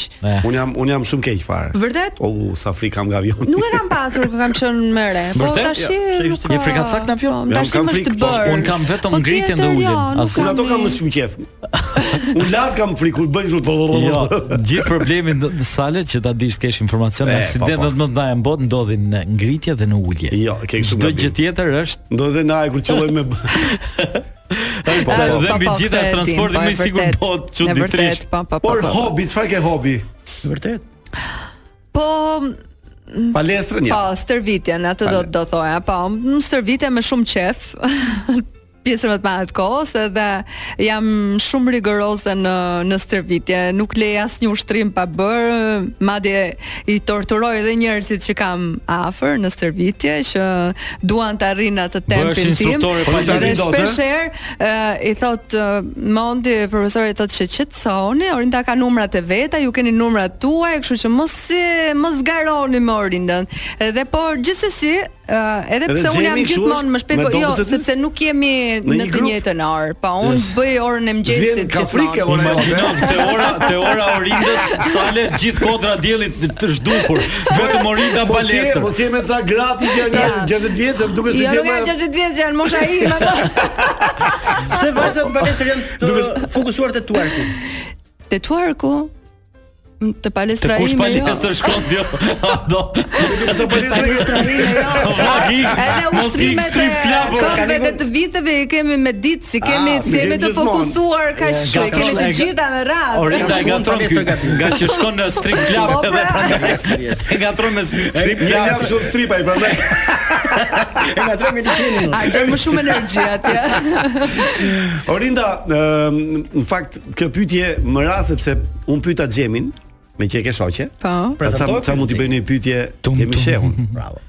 S8: Un jam un jam shumë keq fare.
S11: Vërtet?
S8: O, sa frikë kam nga avioni.
S11: Nuk e kam pasur kur kam qenë më re. Po
S8: Vërtet?
S11: tash
S8: Ja, se ishte një frikat sakt në avion? Ja,
S11: Tash
S8: unë kam
S11: më
S8: frikë,
S11: është
S8: po,
S11: bërë.
S8: unë kam vetëm
S11: Po
S8: ngritjen dhe
S11: tjetër
S8: uljen,
S11: jo, nuk
S8: as- Unë ato kam më shumë qef. Un lart kam frikë kur bëjnë kështu.
S6: Jo, gjithë problemin do të salet që ta dish kesh informacion në
S8: E, po, po.
S6: aksidentet më të mëdha në botë ndodhin në ngritje dhe në ulje.
S8: Jo, ke kështu
S6: Çdo
S8: gabim.
S6: gjë tjetër është
S8: ndodhe na e kur qelloj me.
S6: Ai
S8: po, po,
S6: tash dhe
S8: po,
S6: mbi
S8: po,
S6: gjitha
S8: këtë e
S6: është transporti
S8: dim, po,
S6: më
S8: e
S6: i sigurt
S8: vërtet.
S6: në botë
S8: E vërtet,
S6: çuditërisht.
S11: po, po, po,
S8: Por
S11: po.
S8: hobi, çfarë ke hobi? Vërtet?
S11: Po
S8: Palestrën ja.
S11: Po, stërvitjen, atë do do thoja. Po, më stërvitje me shumë qef. pjesën më të madhe të kohës edhe jam shumë rigoroze në në stërvitje, nuk lej asnjë ushtrim pa bër, madje i torturoj edhe njerëzit që kam afër në stërvitje që duan të arrijnë atë
S6: Bëhesh
S11: tempin tim.
S6: instruktore
S8: Po,
S6: pa
S11: Dhe
S6: lirë dot,
S11: Po,
S8: eh?
S11: shpesh herë ë, i thot ë, Mondi profesori i thot që qetësoni, Orinda ka numrat e veta, ju keni numrat tuaj, kështu që mos i- mos garoni me Orindën. Edhe por gjithsesi ë, edhe
S19: Edhe
S11: pse unë jam
S19: Gjemi kështu
S11: gjithmonë
S19: është?
S11: më shpejt,
S19: Me
S11: po jo,
S19: dobës e ty?
S11: sepse nuk jemi
S19: Në
S11: në
S19: një
S11: të
S19: grup?
S11: njëjtën orë, po unë
S6: Yes.
S11: bëj orën e mëngjesit
S6: Zvjen ka frikë
S11: gjithmonë.
S6: ora e Imagjino,
S8: eh? Po,
S6: orës. te ora- te ora Orindës, sale gjithë kodra diellit të zhdukur,
S8: Po,
S6: vetëm Orinda
S8: Mos je-
S6: palestër.
S8: Mos je po, me ca gratë që janë
S11: Ja.
S8: 60 vjeç, se duket si
S11: Jo, nuk janë 60 vjeç, janë mosha ime. po.
S4: Se vajzat balesër janë të fokusuar te twerku.
S11: Te twerku të
S6: Të
S11: palestra
S6: kush
S11: ime jo.
S6: palestër shkon ti? A do?
S8: Sa
S6: palestër?
S11: Edhe ushtrimet e këmbëve dhe të viteve i kemi me ditë, si kemi
S6: Ah,
S11: si jemi të
S6: gjithmonë.
S11: fokusuar kaq
S6: E,
S11: shumë, i kemi të
S6: gatshme.
S11: gjitha me radhë.
S6: Orinda e gatron ky nga që shkon në strip club
S11: Po,
S6: edhe
S8: pra
S6: e gatron me strip
S8: Një
S6: club.
S8: javë shkon stripa i prandaj.
S4: E ngatroj me liçenin.
S11: A gjej më shumë energji atje.
S8: Orinda, ëm, në fakt kjo pyetje më ra sepse un pyeta Xhemin, me që e ke shoqe.
S11: Po.
S8: Sa
S4: Prezanto
S8: sa mund t'i bëj një pyetje Xhemi shehun. Bravo.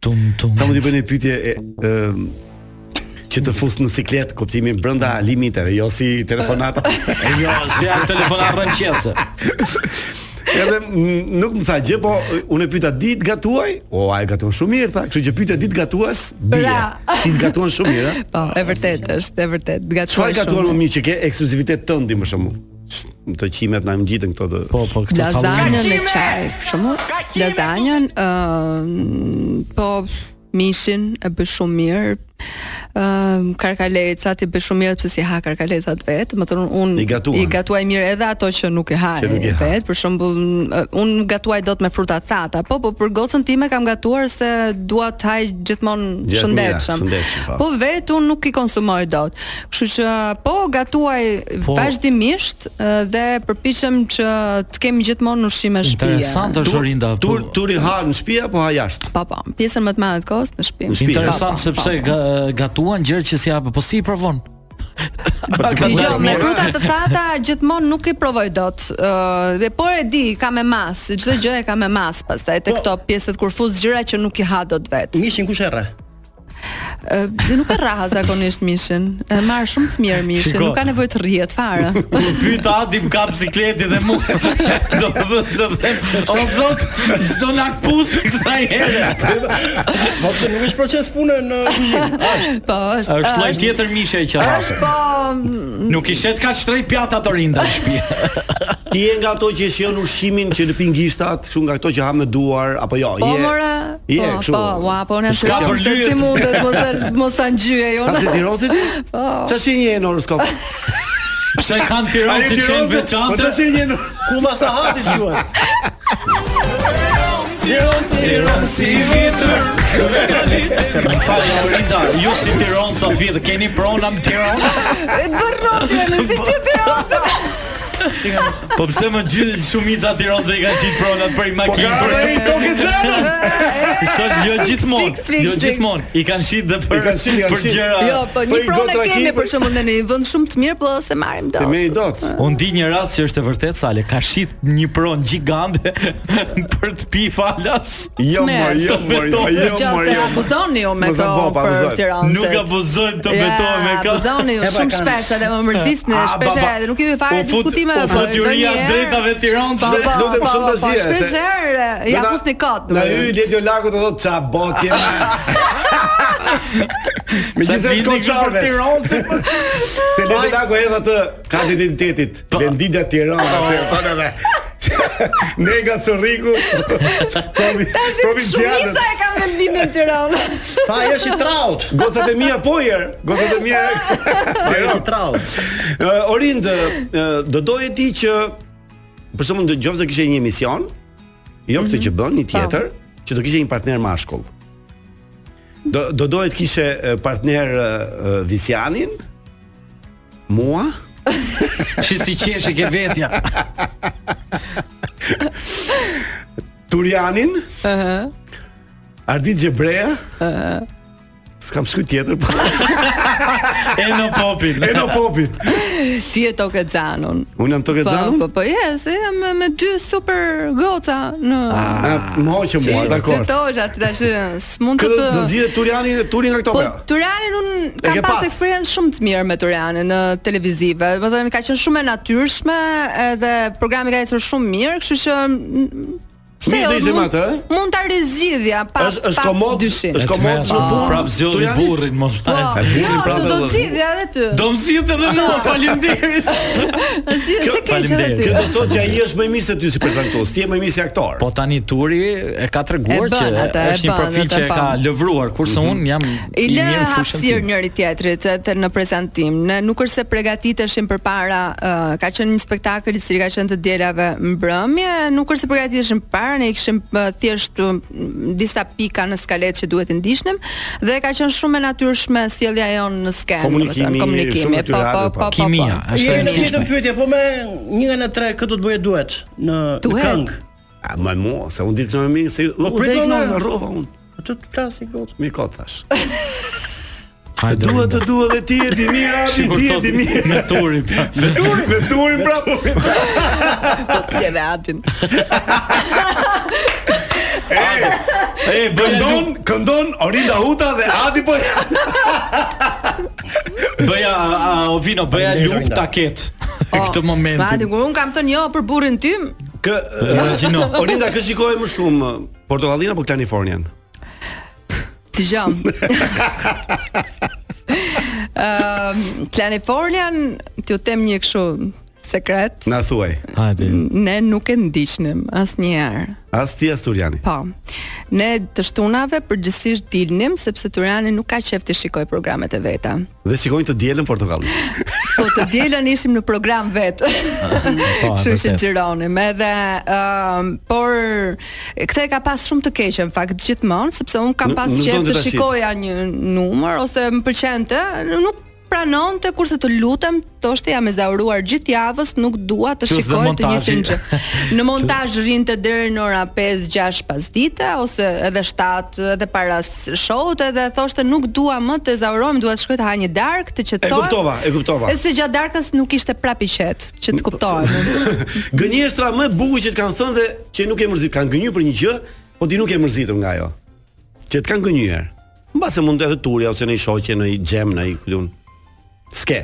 S6: Tum tum.
S8: Sa mund t'i bëj një pyetje e, ëm, që të fus në siklet kuptimin brenda limiteve, jo si telefonata.
S6: Jo, se ai telefonat rën qelse.
S8: Edhe mm, nuk më tha gjë, po unë e pyeta ditë gatuaj? O, ai gatuan shumë mirë tha. Kështu që pyeta ditë gatuash, bie.
S11: Bra.
S8: Ti gatuan shumë mirë, a?
S11: Po, e vërtet është, e vërtet. Gatshoj
S8: Çfarë gatuan më mirë që ke ekskluzivitet tëndi më shumë? Të qimet na ngjitën këto të
S6: Po, po,
S11: Lazanjën me çaj, për shembull. Lazanjën, ë po mishin e bëj shumë mirë. Ëm karkalecat i bëj shumë mirë sepse si ha karkalecat vet, më thon unë
S8: I gatuan.
S11: i gatuaj mirë edhe ato që nuk i ha
S8: Që nuk i ha.
S11: vet, për shembull ë, unë nuk gatuaj dot me fruta të thata, po po për gocën time kam gatuar se dua të haj gjithmonë
S8: Gjithë
S11: shëndetshëm.
S8: mira, shëndetshëm, po.
S11: Po vet unë nuk i konsumoj dot. Kështu që po gatuaj
S6: Po.
S11: vazhdimisht ë, dhe përpiqem që të kemi gjithmonë ushqime shtëpie.
S6: Interesant është Orinda.
S9: po-
S6: po. Tur
S8: turi ha në shtëpi apo ha jashtë?
S11: Po po, pjesën më të madhe të kohës në shtëpi.
S6: Interesant
S11: Po, po,
S6: sepse
S11: po.
S6: ga- gatuan gjë që si apo po si i provon.
S11: Dgjoj, Jo, me fruta të thata gjithmonë nuk i provoj dot. Ë, dhe por e di, ka me mas, çdo gjë e ka me mas pastaj te këto pjesët kur fuz gjëra që nuk i ha dot vet.
S4: Mishin kush e rre?
S11: Ë, dhe nuk e rraha zakonisht mishin. E marr shumë të mirë mishin,
S6: Shiko.
S11: nuk ka nevojë të rrihet fare.
S6: Kur pyet Adi më ka bicikleti dhe mua. Do të thotë se them, o zot, çdo na kpusë kësaj here.
S4: Po pse nuk është proces punë në kuzhinë?
S11: Po, është.
S6: Është lloj tjetër mishe e qarrasë.
S11: Po,
S6: Nuk i shet kaq shtrejt pjata të rinda në shtëpi.
S8: Ti je nga ato që shijon ushqimin që në pingishtat, kështu nga ato që ha me duar apo jo?
S11: Po
S8: je.
S11: more.
S8: Je,
S11: po,
S8: kështu.
S11: Po, ua, po ne
S8: Shka për
S11: se
S8: lyet.
S11: si mundet mos e- mos ta ngjyej
S8: Ka
S11: unë.
S8: të tirosit?
S11: Po.
S8: Çfarë shenjë je në horoskop?
S6: Pse kanë Tiranë si qenë veçantë?
S8: Po çfarë shenjë je në
S4: Kulla sahati juaj.
S6: Tiron, Tiron si vitër Më falë, Orinda, ju si Tiron sa vitër Keni prona më Tiron?
S8: Po.
S11: E bërë rotjen, si që të
S6: Po pse më gjithë shumica tironëse i kanë qitë pronat për i
S7: Po
S6: makinë.
S7: ka
S6: për-
S7: ardhe i tokë xhanën.
S6: Sot jo gjithmonë,
S11: Fix, fix,
S6: jo
S11: fix.
S6: gjithmonë. I kanë shit dhe për
S8: I kanë shit, i kanë
S6: për
S8: shit.
S6: gjëra.
S11: Jo, po një pronë kemi për shembull në një vend shumë të mirë, po se marrim dot.
S8: dot.
S6: Unë di një rast që është e vërtetë sale, ka shit një pronë gjigande për të pi falas.
S8: Jo,
S11: Ne,
S8: mor, jo,
S6: të
S8: mor, jo,
S6: betohet.
S8: jo, mor,
S11: Se
S8: jo.
S11: abuzoni ju me
S8: Mos e
S11: to
S8: bo, pa
S11: për
S8: abuzojmë.
S11: Tiranën.
S6: Nuk abuzojmë të betohem me ka-
S11: Abuzoni ju
S6: E, pa,
S11: shumë
S6: kanë-
S11: shpesh, edhe më mërzisni
S6: A,
S11: shpesh
S6: baba,
S11: edhe nuk kemi fare
S6: u fut-
S11: diskutime.
S6: u
S11: po,
S6: fut juria
S11: ndonjëherë-
S6: drejtave tiranësve,
S11: Po, po,
S8: lutem
S11: po,
S8: shumë
S11: po,
S8: dozje,
S11: Shpesh
S8: se-
S11: herë, ja
S8: Na-
S11: fusni kot.
S8: Na hy Ledio Laku të thotë ça bot je. Me
S7: Sa
S8: gjithë
S7: bindi
S8: shkon
S7: kështu për
S8: çarve.
S7: Tiranë,
S8: se Ledio Laku hedh atë ka identitetit, venditja Tiranë atë thonë edhe. po. Ne nga Po Curriku. Tomi, Tomi Djalës.
S11: Shumica e kam vendin në Tiranë.
S8: Tha ajo është i traut. Gocat e mia po jer, gocat e mia. Ajo është i traut. Ë, Eh, Orind, ë, do doje ti që për shembull do qoftë do kishe një emision, jo këtë që bën, një tjetër, që do kishe një partner mashkull. Do do doje të kishe ë, partner ë, ë, Visianin, mua,
S6: Shi si qesh e ke vetja.
S8: Turianin, ëh. Ardit Xhebrea, ëh. S'kam shkruaj tjetër po.
S6: Eno Popin.
S8: Eno Popin.
S11: Ti e tokë xanun.
S8: Unë jam Tokë Xhanon.
S11: Po, po, po, yes, jam me- me dy super goca në
S8: Ah, më hoqë mua, dakor.
S11: Të toja ti tash s'mund
S8: Kë
S11: të të
S8: do zgjidhet Turiani dhe Turi nga këto
S11: Po
S8: pra.
S11: Turanin un
S8: E
S11: kam
S8: ke
S11: pas
S8: pas.
S11: eksperiencë shumë të mirë me Turanin në televizive. Do të thënë ka qenë shumë e natyrshme edhe programi ka ecur shumë mirë, kështu që mm, pse
S8: Mirë
S11: jo,
S8: do ishte me
S11: mund-
S8: atë, ë?
S11: Mund ta rezgjidhja pa
S8: Është është komod,
S11: dyshim.
S8: është komod në punë.
S6: Prap zgjodhi
S8: Turiani?
S6: burrin mos
S11: Po,
S6: ta.
S11: jo, do zgjidhja edhe ty.
S6: Do më zgjidhë edhe mua, faleminderit.
S11: Zgjidhja se keq edhe ty.
S8: Kjo do të thotë që ai është më i mirë se ty si prezantues, ti je më i mirë si aktor.
S6: Po tani Turi e ka treguar
S11: E bën
S6: që
S11: atë, e
S6: është një
S11: bën,
S6: profil
S11: atë
S6: që e
S11: bën.
S6: ka lëvruar, kurse un jam
S11: I lë
S6: mirë në fushën
S11: hapësirë
S6: time.
S11: njëri tjetrit e, të në prezantim. Ne nuk është se përgatiteshim përpara, ë, ka qenë një spektakël i cili ka qenë të dielave mbrëmje, nuk është se përgatiteshim para, ne i kishim ë, thjesht ë, disa pika në skaletë që duhet i ndiqnim dhe ka qenë shumë e natyrshme sjellja jonë në skenë,
S8: Komunikimi,
S11: domethënë,
S8: shumë
S11: komunikimi, po
S8: natyrale,
S11: po
S8: po.
S11: po.
S6: Kimia,
S11: është
S4: Jeri në vjetën pyetje, po me një nga në tre këtë do të bëje duhet në në
S11: Duhet?
S4: këngë.
S8: A më mua, se unë ditë më mirë se do
S4: U,
S8: prit
S4: dhe
S8: unë
S4: ignora.
S8: rrova unë.
S4: Po të të flasi kot.
S8: Mi kot thash.
S6: Hajde,
S8: Të dua
S6: Olinda.
S8: të dua dhe ti e di mirë, a mi
S6: Sigur
S8: ti e
S6: thot
S8: di mirë.
S6: me Turi. pra.
S8: Me turin, me turin bravo.
S11: Po si edhe atin.
S6: E
S8: Këndon, këndon Orinda Huta dhe Adi po.
S6: Bëja a, a, Ovino, bëja
S8: Faleminderit,
S6: lup
S8: Olinda.
S6: taket në këtë moment.
S11: Vati, kur un kam thënë jo për burrin tim,
S8: Kë
S6: Imagjino.
S8: Orinda kë shikoj më shumë po Portokallin apo Kalifornian?
S11: Dëgjom. Ëm Californian, Ehm, t'ju them një kështu sekret.
S8: Na thuaj.
S6: Hajde.
S11: Ne nuk e ndiqnim asnjëherë.
S8: As ti as Turiani.
S11: Po. Ne të shtunave përgjithsisht dilnim sepse Turani nuk ka qejf të shikoj programet e veta.
S8: Dhe shikojnë të dielën portokallin.
S11: Po të dielën ishim në program vetë.
S8: Ah, po,
S11: Kështu që xhironim edhe ëm por këtë e ka pas shumë të keqe në fakt gjithmonë sepse un kam
S8: Nuk-
S11: pas
S8: nuk
S11: qejf
S8: donte
S11: të
S8: ta shih.
S11: shikoja një numër ose më pëlqente, nuk pranonte kurse të lutem thoshte jam e zauruar gjithë javës nuk dua të
S6: Plus dhe
S11: shikoj të njëjtin
S6: montazhi.
S11: gjë. Në montazh rinte deri në ora 5-6 pas dite ose edhe 7 edhe para show-ut edhe thoshte nuk dua më të zaurohem, dua të shkoj të ha një darkë, të
S8: E
S11: qetësoj.
S8: kuptova, e kuptova.
S11: E se gjatë darkës nuk ishte prap i qet, që të kuptohem.
S8: Gënjeshtra më e bukur që të kanë thënë dhe që nuk e mërzit, kanë gënjur për një gjë, po ti nuk e mërzitur nga ajo. Që të kanë gënjur. Mbase mund të edhe turja ose në një shoqe, në një xhem, në një ku diun. Ske.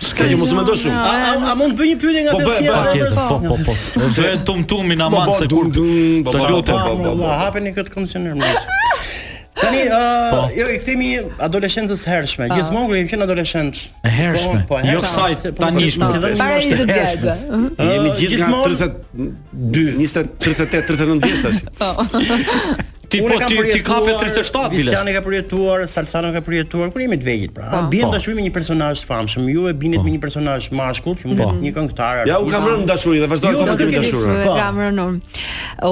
S8: Ska që mos më do shumë.
S4: A, a, a mund të bëj një pyetje nga
S8: Po bëj,
S4: tërësia?
S8: bëj,
S4: Robert?
S6: Tjetër, po, po, po. Do e tumtumin aman
S8: Po, po,
S6: se kur
S8: dum, dum, po,
S6: të
S8: po,
S6: lutem.
S8: po, po, po.
S4: Allah, hapeni këtë komisioner më. Tani,
S6: Po.
S4: ë, jo i themi adoleshencës hershme.
S11: Po.
S4: Gjithmonë kur jemi qenë adoleshent.
S6: E hershme.
S4: Po, po, hershme.
S6: Jo kësaj
S4: Se- po,
S6: tanishme.
S4: po, po,
S11: Para
S4: është
S11: 20
S4: hershme.
S11: vjetëve.
S8: Jemi
S4: Ë,
S8: gjithë nga
S4: gjithmonë-
S8: 32, 20, 38, 39 vjeç tash.
S6: Ti
S4: Unë
S6: po
S4: kam
S6: ti ti
S4: përjetuar,
S6: kape 37 bile.
S4: Visiani ka përjetuar, Salsano ka përjetuar, kur jemi të vegjël pra.
S11: Po.
S4: Bien
S6: Po.
S4: dashuri me një personazh të famshëm. Ju e binit me një personazh mashkull, që
S6: Po.
S4: mund të jetë një këngëtar.
S8: Ja u kam rënë në dashuri dhe vazhdoj
S4: Jo, nuk
S8: akoma të
S4: e keni
S8: kem dashurë.
S4: Po.
S11: Kam rënë unë.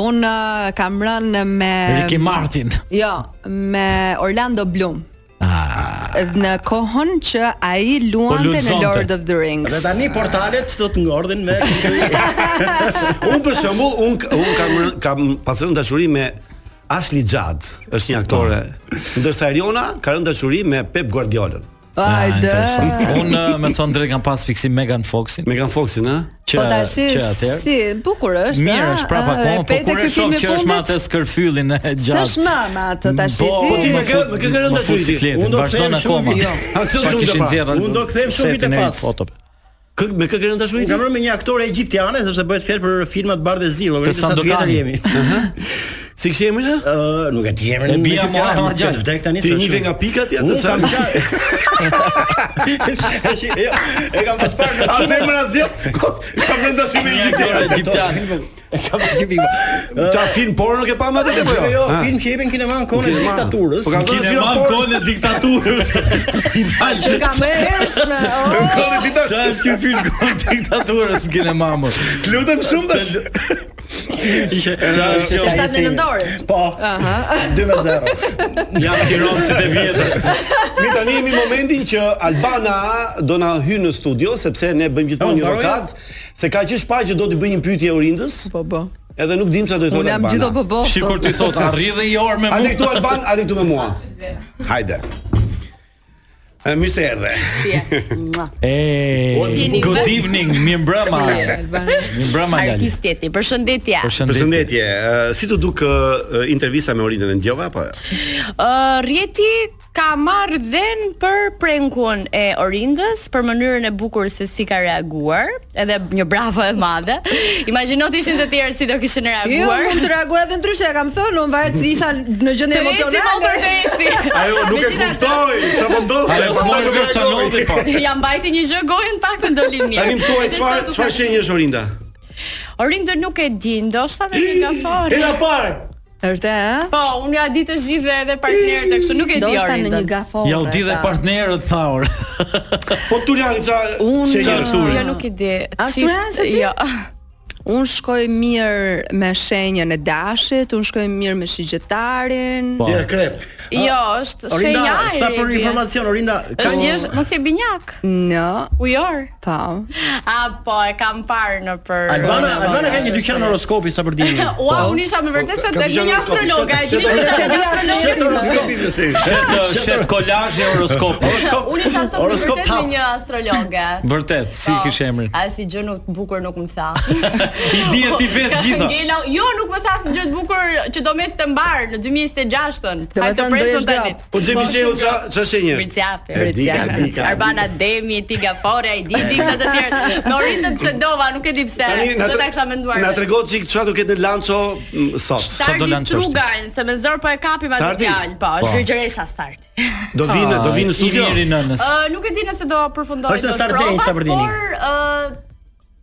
S11: Unë uh, kam rënë me
S6: Ricky Martin.
S11: Jo, me Orlando Bloom.
S6: Ah,
S11: në kohën që ai luante në
S4: lulëzonte.
S11: Lord of the Rings.
S4: Dhe tani portalet do të ngordhin me
S8: Unë për shembull, un un kam kam pas rënë dashuri me Ashley Judd, është një aktore. Ndërsa Eriona ka rënë dashuri me Pep Guardiola.
S6: Ah,
S11: Ajde.
S6: Unë eh, me thon drejt kam pas fiksim Megan Foxin.
S8: Megan Foxin, ë?
S11: Po tash si bukur është.
S6: Mirë,
S11: a?
S6: është prapa
S11: A,
S6: kohë,
S11: e
S6: po
S11: pete
S6: kur e
S11: ky
S6: shoh
S11: film i
S6: që është me
S11: fundit?
S6: atë skërfyllin e gjatë.
S11: S'është mama atë tash i ti.
S6: Po, ti me kë- me kë kanë dashuri ti? Unë do të them shumë vite- jo.
S8: A këtë
S6: Sa
S8: shumë
S6: kishin
S8: të
S6: nxjerrë
S8: pa.
S6: Unë do kthehem shumë vite pas.
S8: po- Kë me kë kanë dashuri
S4: Unë
S8: ti?
S4: kam rënë me një aktore egjiptiane sepse bëhet fjalë për filmat Bardh e Zi,
S8: Për
S4: llogaritë sa të
S8: Sandokan.
S4: vjetër jemi.
S8: Si kishë emrin? Ë,
S4: nuk e di emrin.
S8: E bija
S4: nuk e kam,
S8: Muhammed Xhan.
S4: këtë vdek tani.
S8: Ti njive nga pikat, ja, të
S4: të
S8: çam.
S4: çam. E kam pas parë.
S8: A se emra zgjat? Kam rënë dashuri me egjiptian.
S4: Egjiptian.
S8: E kam si pikë. Ça film porno ke pa më atë apo jo?
S4: Jo,
S8: Ha?
S4: film që jepin kinema në kohën e
S8: Kinema.
S4: diktaturës.
S8: Po kam thënë film
S4: Kinema në
S8: porno.
S4: kohën
S8: e diktaturës.
S11: Që ka më hershme.
S8: Në kohën e
S11: oh.
S8: diktaturës.
S6: Çfarë është ky film kon diktaturës gjenë mamës.
S8: Lutem shumë tash.
S6: Çfarë është kjo?
S11: Të shtatë në nëndorit.
S4: Po.
S11: Aha.
S4: 2-0.
S8: Jam tironësit e vjetër. Mi tani jemi në momentin që Albana do na hynë në studio sepse ne bëjmë gjithmonë një
S4: mbaroja?
S8: rokat se ka që shpaj që do të bëj një pyetje Orindës.
S11: Po po.
S8: Edhe nuk dim çfarë do i thotë
S11: Unë jam
S8: Albana.
S11: gjithë o po bo,
S6: Shikur ti thot, arri dhe i orë me
S8: A di
S6: mua.
S8: këtu Alban, a di këtu me mua? Hajde. E, Mirë se erdhe.
S6: E,
S19: What you need?
S6: good evening, mi mbrëma. Mi mbrëma Lali.
S19: Artisti jeti, përshëndetje.
S8: Përshëndetje. Ë, Si të duk ë, intervista me Orindën e po? Ngjova apo?
S19: Ë, rjeti ka marrë dhen për prenkun e Orindës, për mënyrën e bukur se si ka reaguar, edhe një bravo e madhe. Imagjino të ishin të tjerë si do kishin
S11: Jo,
S19: reaguar.
S11: unë të reaguaj edhe ndryshe, e kam thënë, unë varet si isha në gjendje
S19: Të eci
S11: emocionale.
S19: motor, të eci.
S8: Ajo nuk e kuptoj, çfarë po ndodh?
S6: Ajo s'mori vesh çfarë ndodhi, po.
S19: Ja mbajti një gjë gojën pak të ndoli mirë.
S8: Tani më thuaj çfarë çfarë shenjë është Orinda?
S19: Orindë nuk e di, ndoshta me një gafore.
S8: Era parë.
S11: Është ë?
S19: Po, unë ja di të gjithë edhe partnerët e kështu, nuk e di
S11: Ndoshta
S19: Orindën.
S11: në një gafore.
S6: Ja u di dhe
S11: ta.
S6: partnerët thaur.
S8: Po Tuliani ça
S11: Unë
S6: shenjë është uri?
S19: Jo, nuk e di.
S11: Ashtu
S19: Qift-
S11: janë se ti?
S19: Jo.
S11: Unë shkoj mirë me shenjën e dashit, unë shkoj mirë me shigjetarin.
S4: Po. Ti e krep. Ah,
S19: Jo, është
S4: Orinda,
S19: shenja e
S4: sa për
S19: redi.
S4: informacion Orinda, ka
S19: Është jesh mos je binjak.
S11: No.
S19: Ujor.
S11: Po.
S19: A po, e kam parë në për
S4: Albana,
S19: në
S4: Albana ka
S19: vojash,
S4: një dyqan
S19: është.
S4: horoskopi sa për Po. dimin.
S19: Ua, unë isha me vërtet se
S4: Ka
S19: del
S4: dyqan
S19: një
S4: horoskopi,
S19: astrologa, e
S4: shet-
S19: dini që
S4: shet-
S19: isha një
S4: shet
S19: astrolog.
S4: horoskopi.
S6: Shet shet kolazhe horoskopi.
S19: Unë isha sot me
S6: Horoskop
S19: vërtet me
S6: tap.
S19: një astrologe.
S6: Vërtet, si
S19: Po.
S6: kish emrin?
S19: A si gjë nuk bukur nuk më tha.
S6: I dihet ti vetë
S19: Ka
S6: gjitha.
S19: Ngela, jo, nuk më tha si gjë të bukur që do mes të mbar në 2026-ën.
S11: Do
S19: Hajde të
S11: të thënë, do
S19: presim
S11: jesh
S19: tani.
S11: grap.
S8: Po Xhemi Sheu ça ça shenjë është?
S19: Mirciapi,
S8: E di, e di,
S19: Mirciapi.
S8: ka-
S19: Arbana Demi, Tiga Fore, ai di di të të tjerë. Me orindën që dova, nuk e di pse.
S8: Tani na
S19: Do ta
S8: tre-
S19: kisha menduar.
S8: Na tregon çik çfarë do ketë në lanço m, sot.
S19: Sardi Strugan, se me zor po e kapim atë
S8: Sardi?
S19: fjalë, po,
S8: Po.
S19: është virgjëresha Sardi.
S8: Do vinë, do vinë në
S6: i
S8: studio.
S6: miri nënës.
S19: Ë, nuk e di nëse do përfundoj
S4: Është në
S19: dot
S4: Sardenjë,
S19: provat,
S4: Sabrdini.
S19: Por ë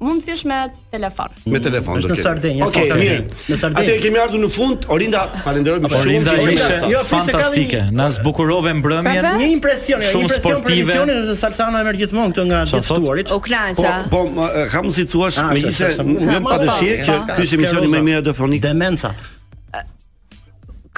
S19: mund thjesht me telefon.
S8: Me telefon
S4: Është
S8: do
S4: në Sardenjë, është
S8: Okej,
S4: në Sardenjë.
S8: mirë.
S4: Në Sardenjë.
S8: Atëherë kemi ardhur në fund. Orinda, falenderoj më shumë.
S6: Orinda ishe
S8: Jo, Frise, ka dhe
S6: fantastike. Na zbukurove mbrëmjen.
S4: Një impresion, një
S6: Shumë
S4: impresion për
S6: sportive.
S4: emisionin sepse Salsano e merr gjithmonë këtë nga
S8: Sa
S4: gjithë
S8: thot?
S4: stuarit.
S8: Po,
S11: U knaqa.
S8: po, më, e, ka mundësi të thuash
S4: Ah,
S8: megjithse
S4: se- se- se-
S8: nuk pa
S11: Po, po,
S8: dëshirë që
S11: po.
S8: ky është emisioni më i mirë radiofonik.
S4: Demenca.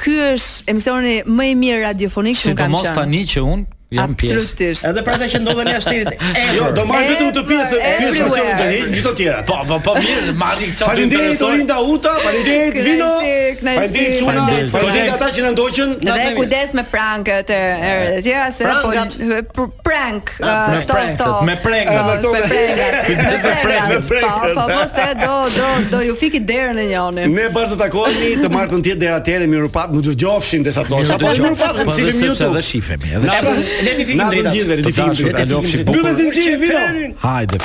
S11: Ky është emisioni më i mirë radiofonik që un kam
S6: Sidomos
S11: qenë.
S6: tani që un jam pjesë.
S11: Absolutisht.
S4: Edhe për ata që ndodhen jashtë shtetit. ever.
S8: Jo, do marr vetëm të pjesë, pjesë
S11: everywhere.
S8: mësion të hiq gjithë të tjerat.
S6: Po, po, po mirë, mali çfarë të
S8: Faleminderit
S6: interesoj.
S8: Orinda Uta, faleminderit
S11: Kënaqësi,
S8: Vino.
S11: kënaqësi,
S8: Faleminderit Çuna,
S11: faleminderit.
S8: faleminderit ata që na ndoqën.
S11: Dhe kujdes me prankët e e
S8: Eh.
S11: e tjera se po
S8: Prankat?
S11: pr- prank
S8: Ah,
S11: ë,
S8: me
S11: këto
S8: prankset,
S11: këto
S8: me prankat.
S11: Po,
S8: Me këto
S11: me
S8: me-
S11: prankat.
S8: Kujdes me prank- me
S11: Po,
S8: prankat.
S11: po po se do do do ju fiki derën e njëri.
S8: Ne bashkë të takohemi të martën tjetër deri atëherë miru pap, më dërgjofshin desa tosha. Po
S6: dëgjofshin.
S8: miru pap,
S6: Po,
S8: më
S6: dhe
S8: sipim
S6: sepse
S8: YouTube.
S6: edhe shifemi, edhe
S8: Na-
S6: shifemi.
S8: Le ti fikim
S6: Na
S8: drejtat.
S6: përgjithë, le ti
S8: Të
S6: fikim
S8: dashur,
S6: drejtat.
S8: ta lofshi
S6: Mbyllet
S8: bukur.
S6: të
S8: Mbyllet Vino.
S6: Hajde.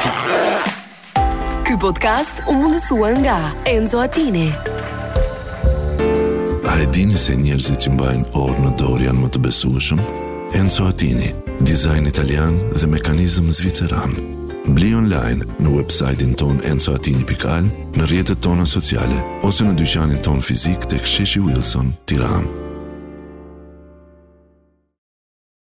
S1: Ky podcast u mundësua nga Enzo Attini.
S2: A e dini se njerëzit që mbajnë orë në dorë janë më të besueshëm? Enzo Attini, dizajn italian dhe mekanizëm zviceran. Bli online në websajtin ton enzoatini.al, në rjetët tona sociale, ose në dyqanin ton fizik të ksheshi Wilson, tiranë.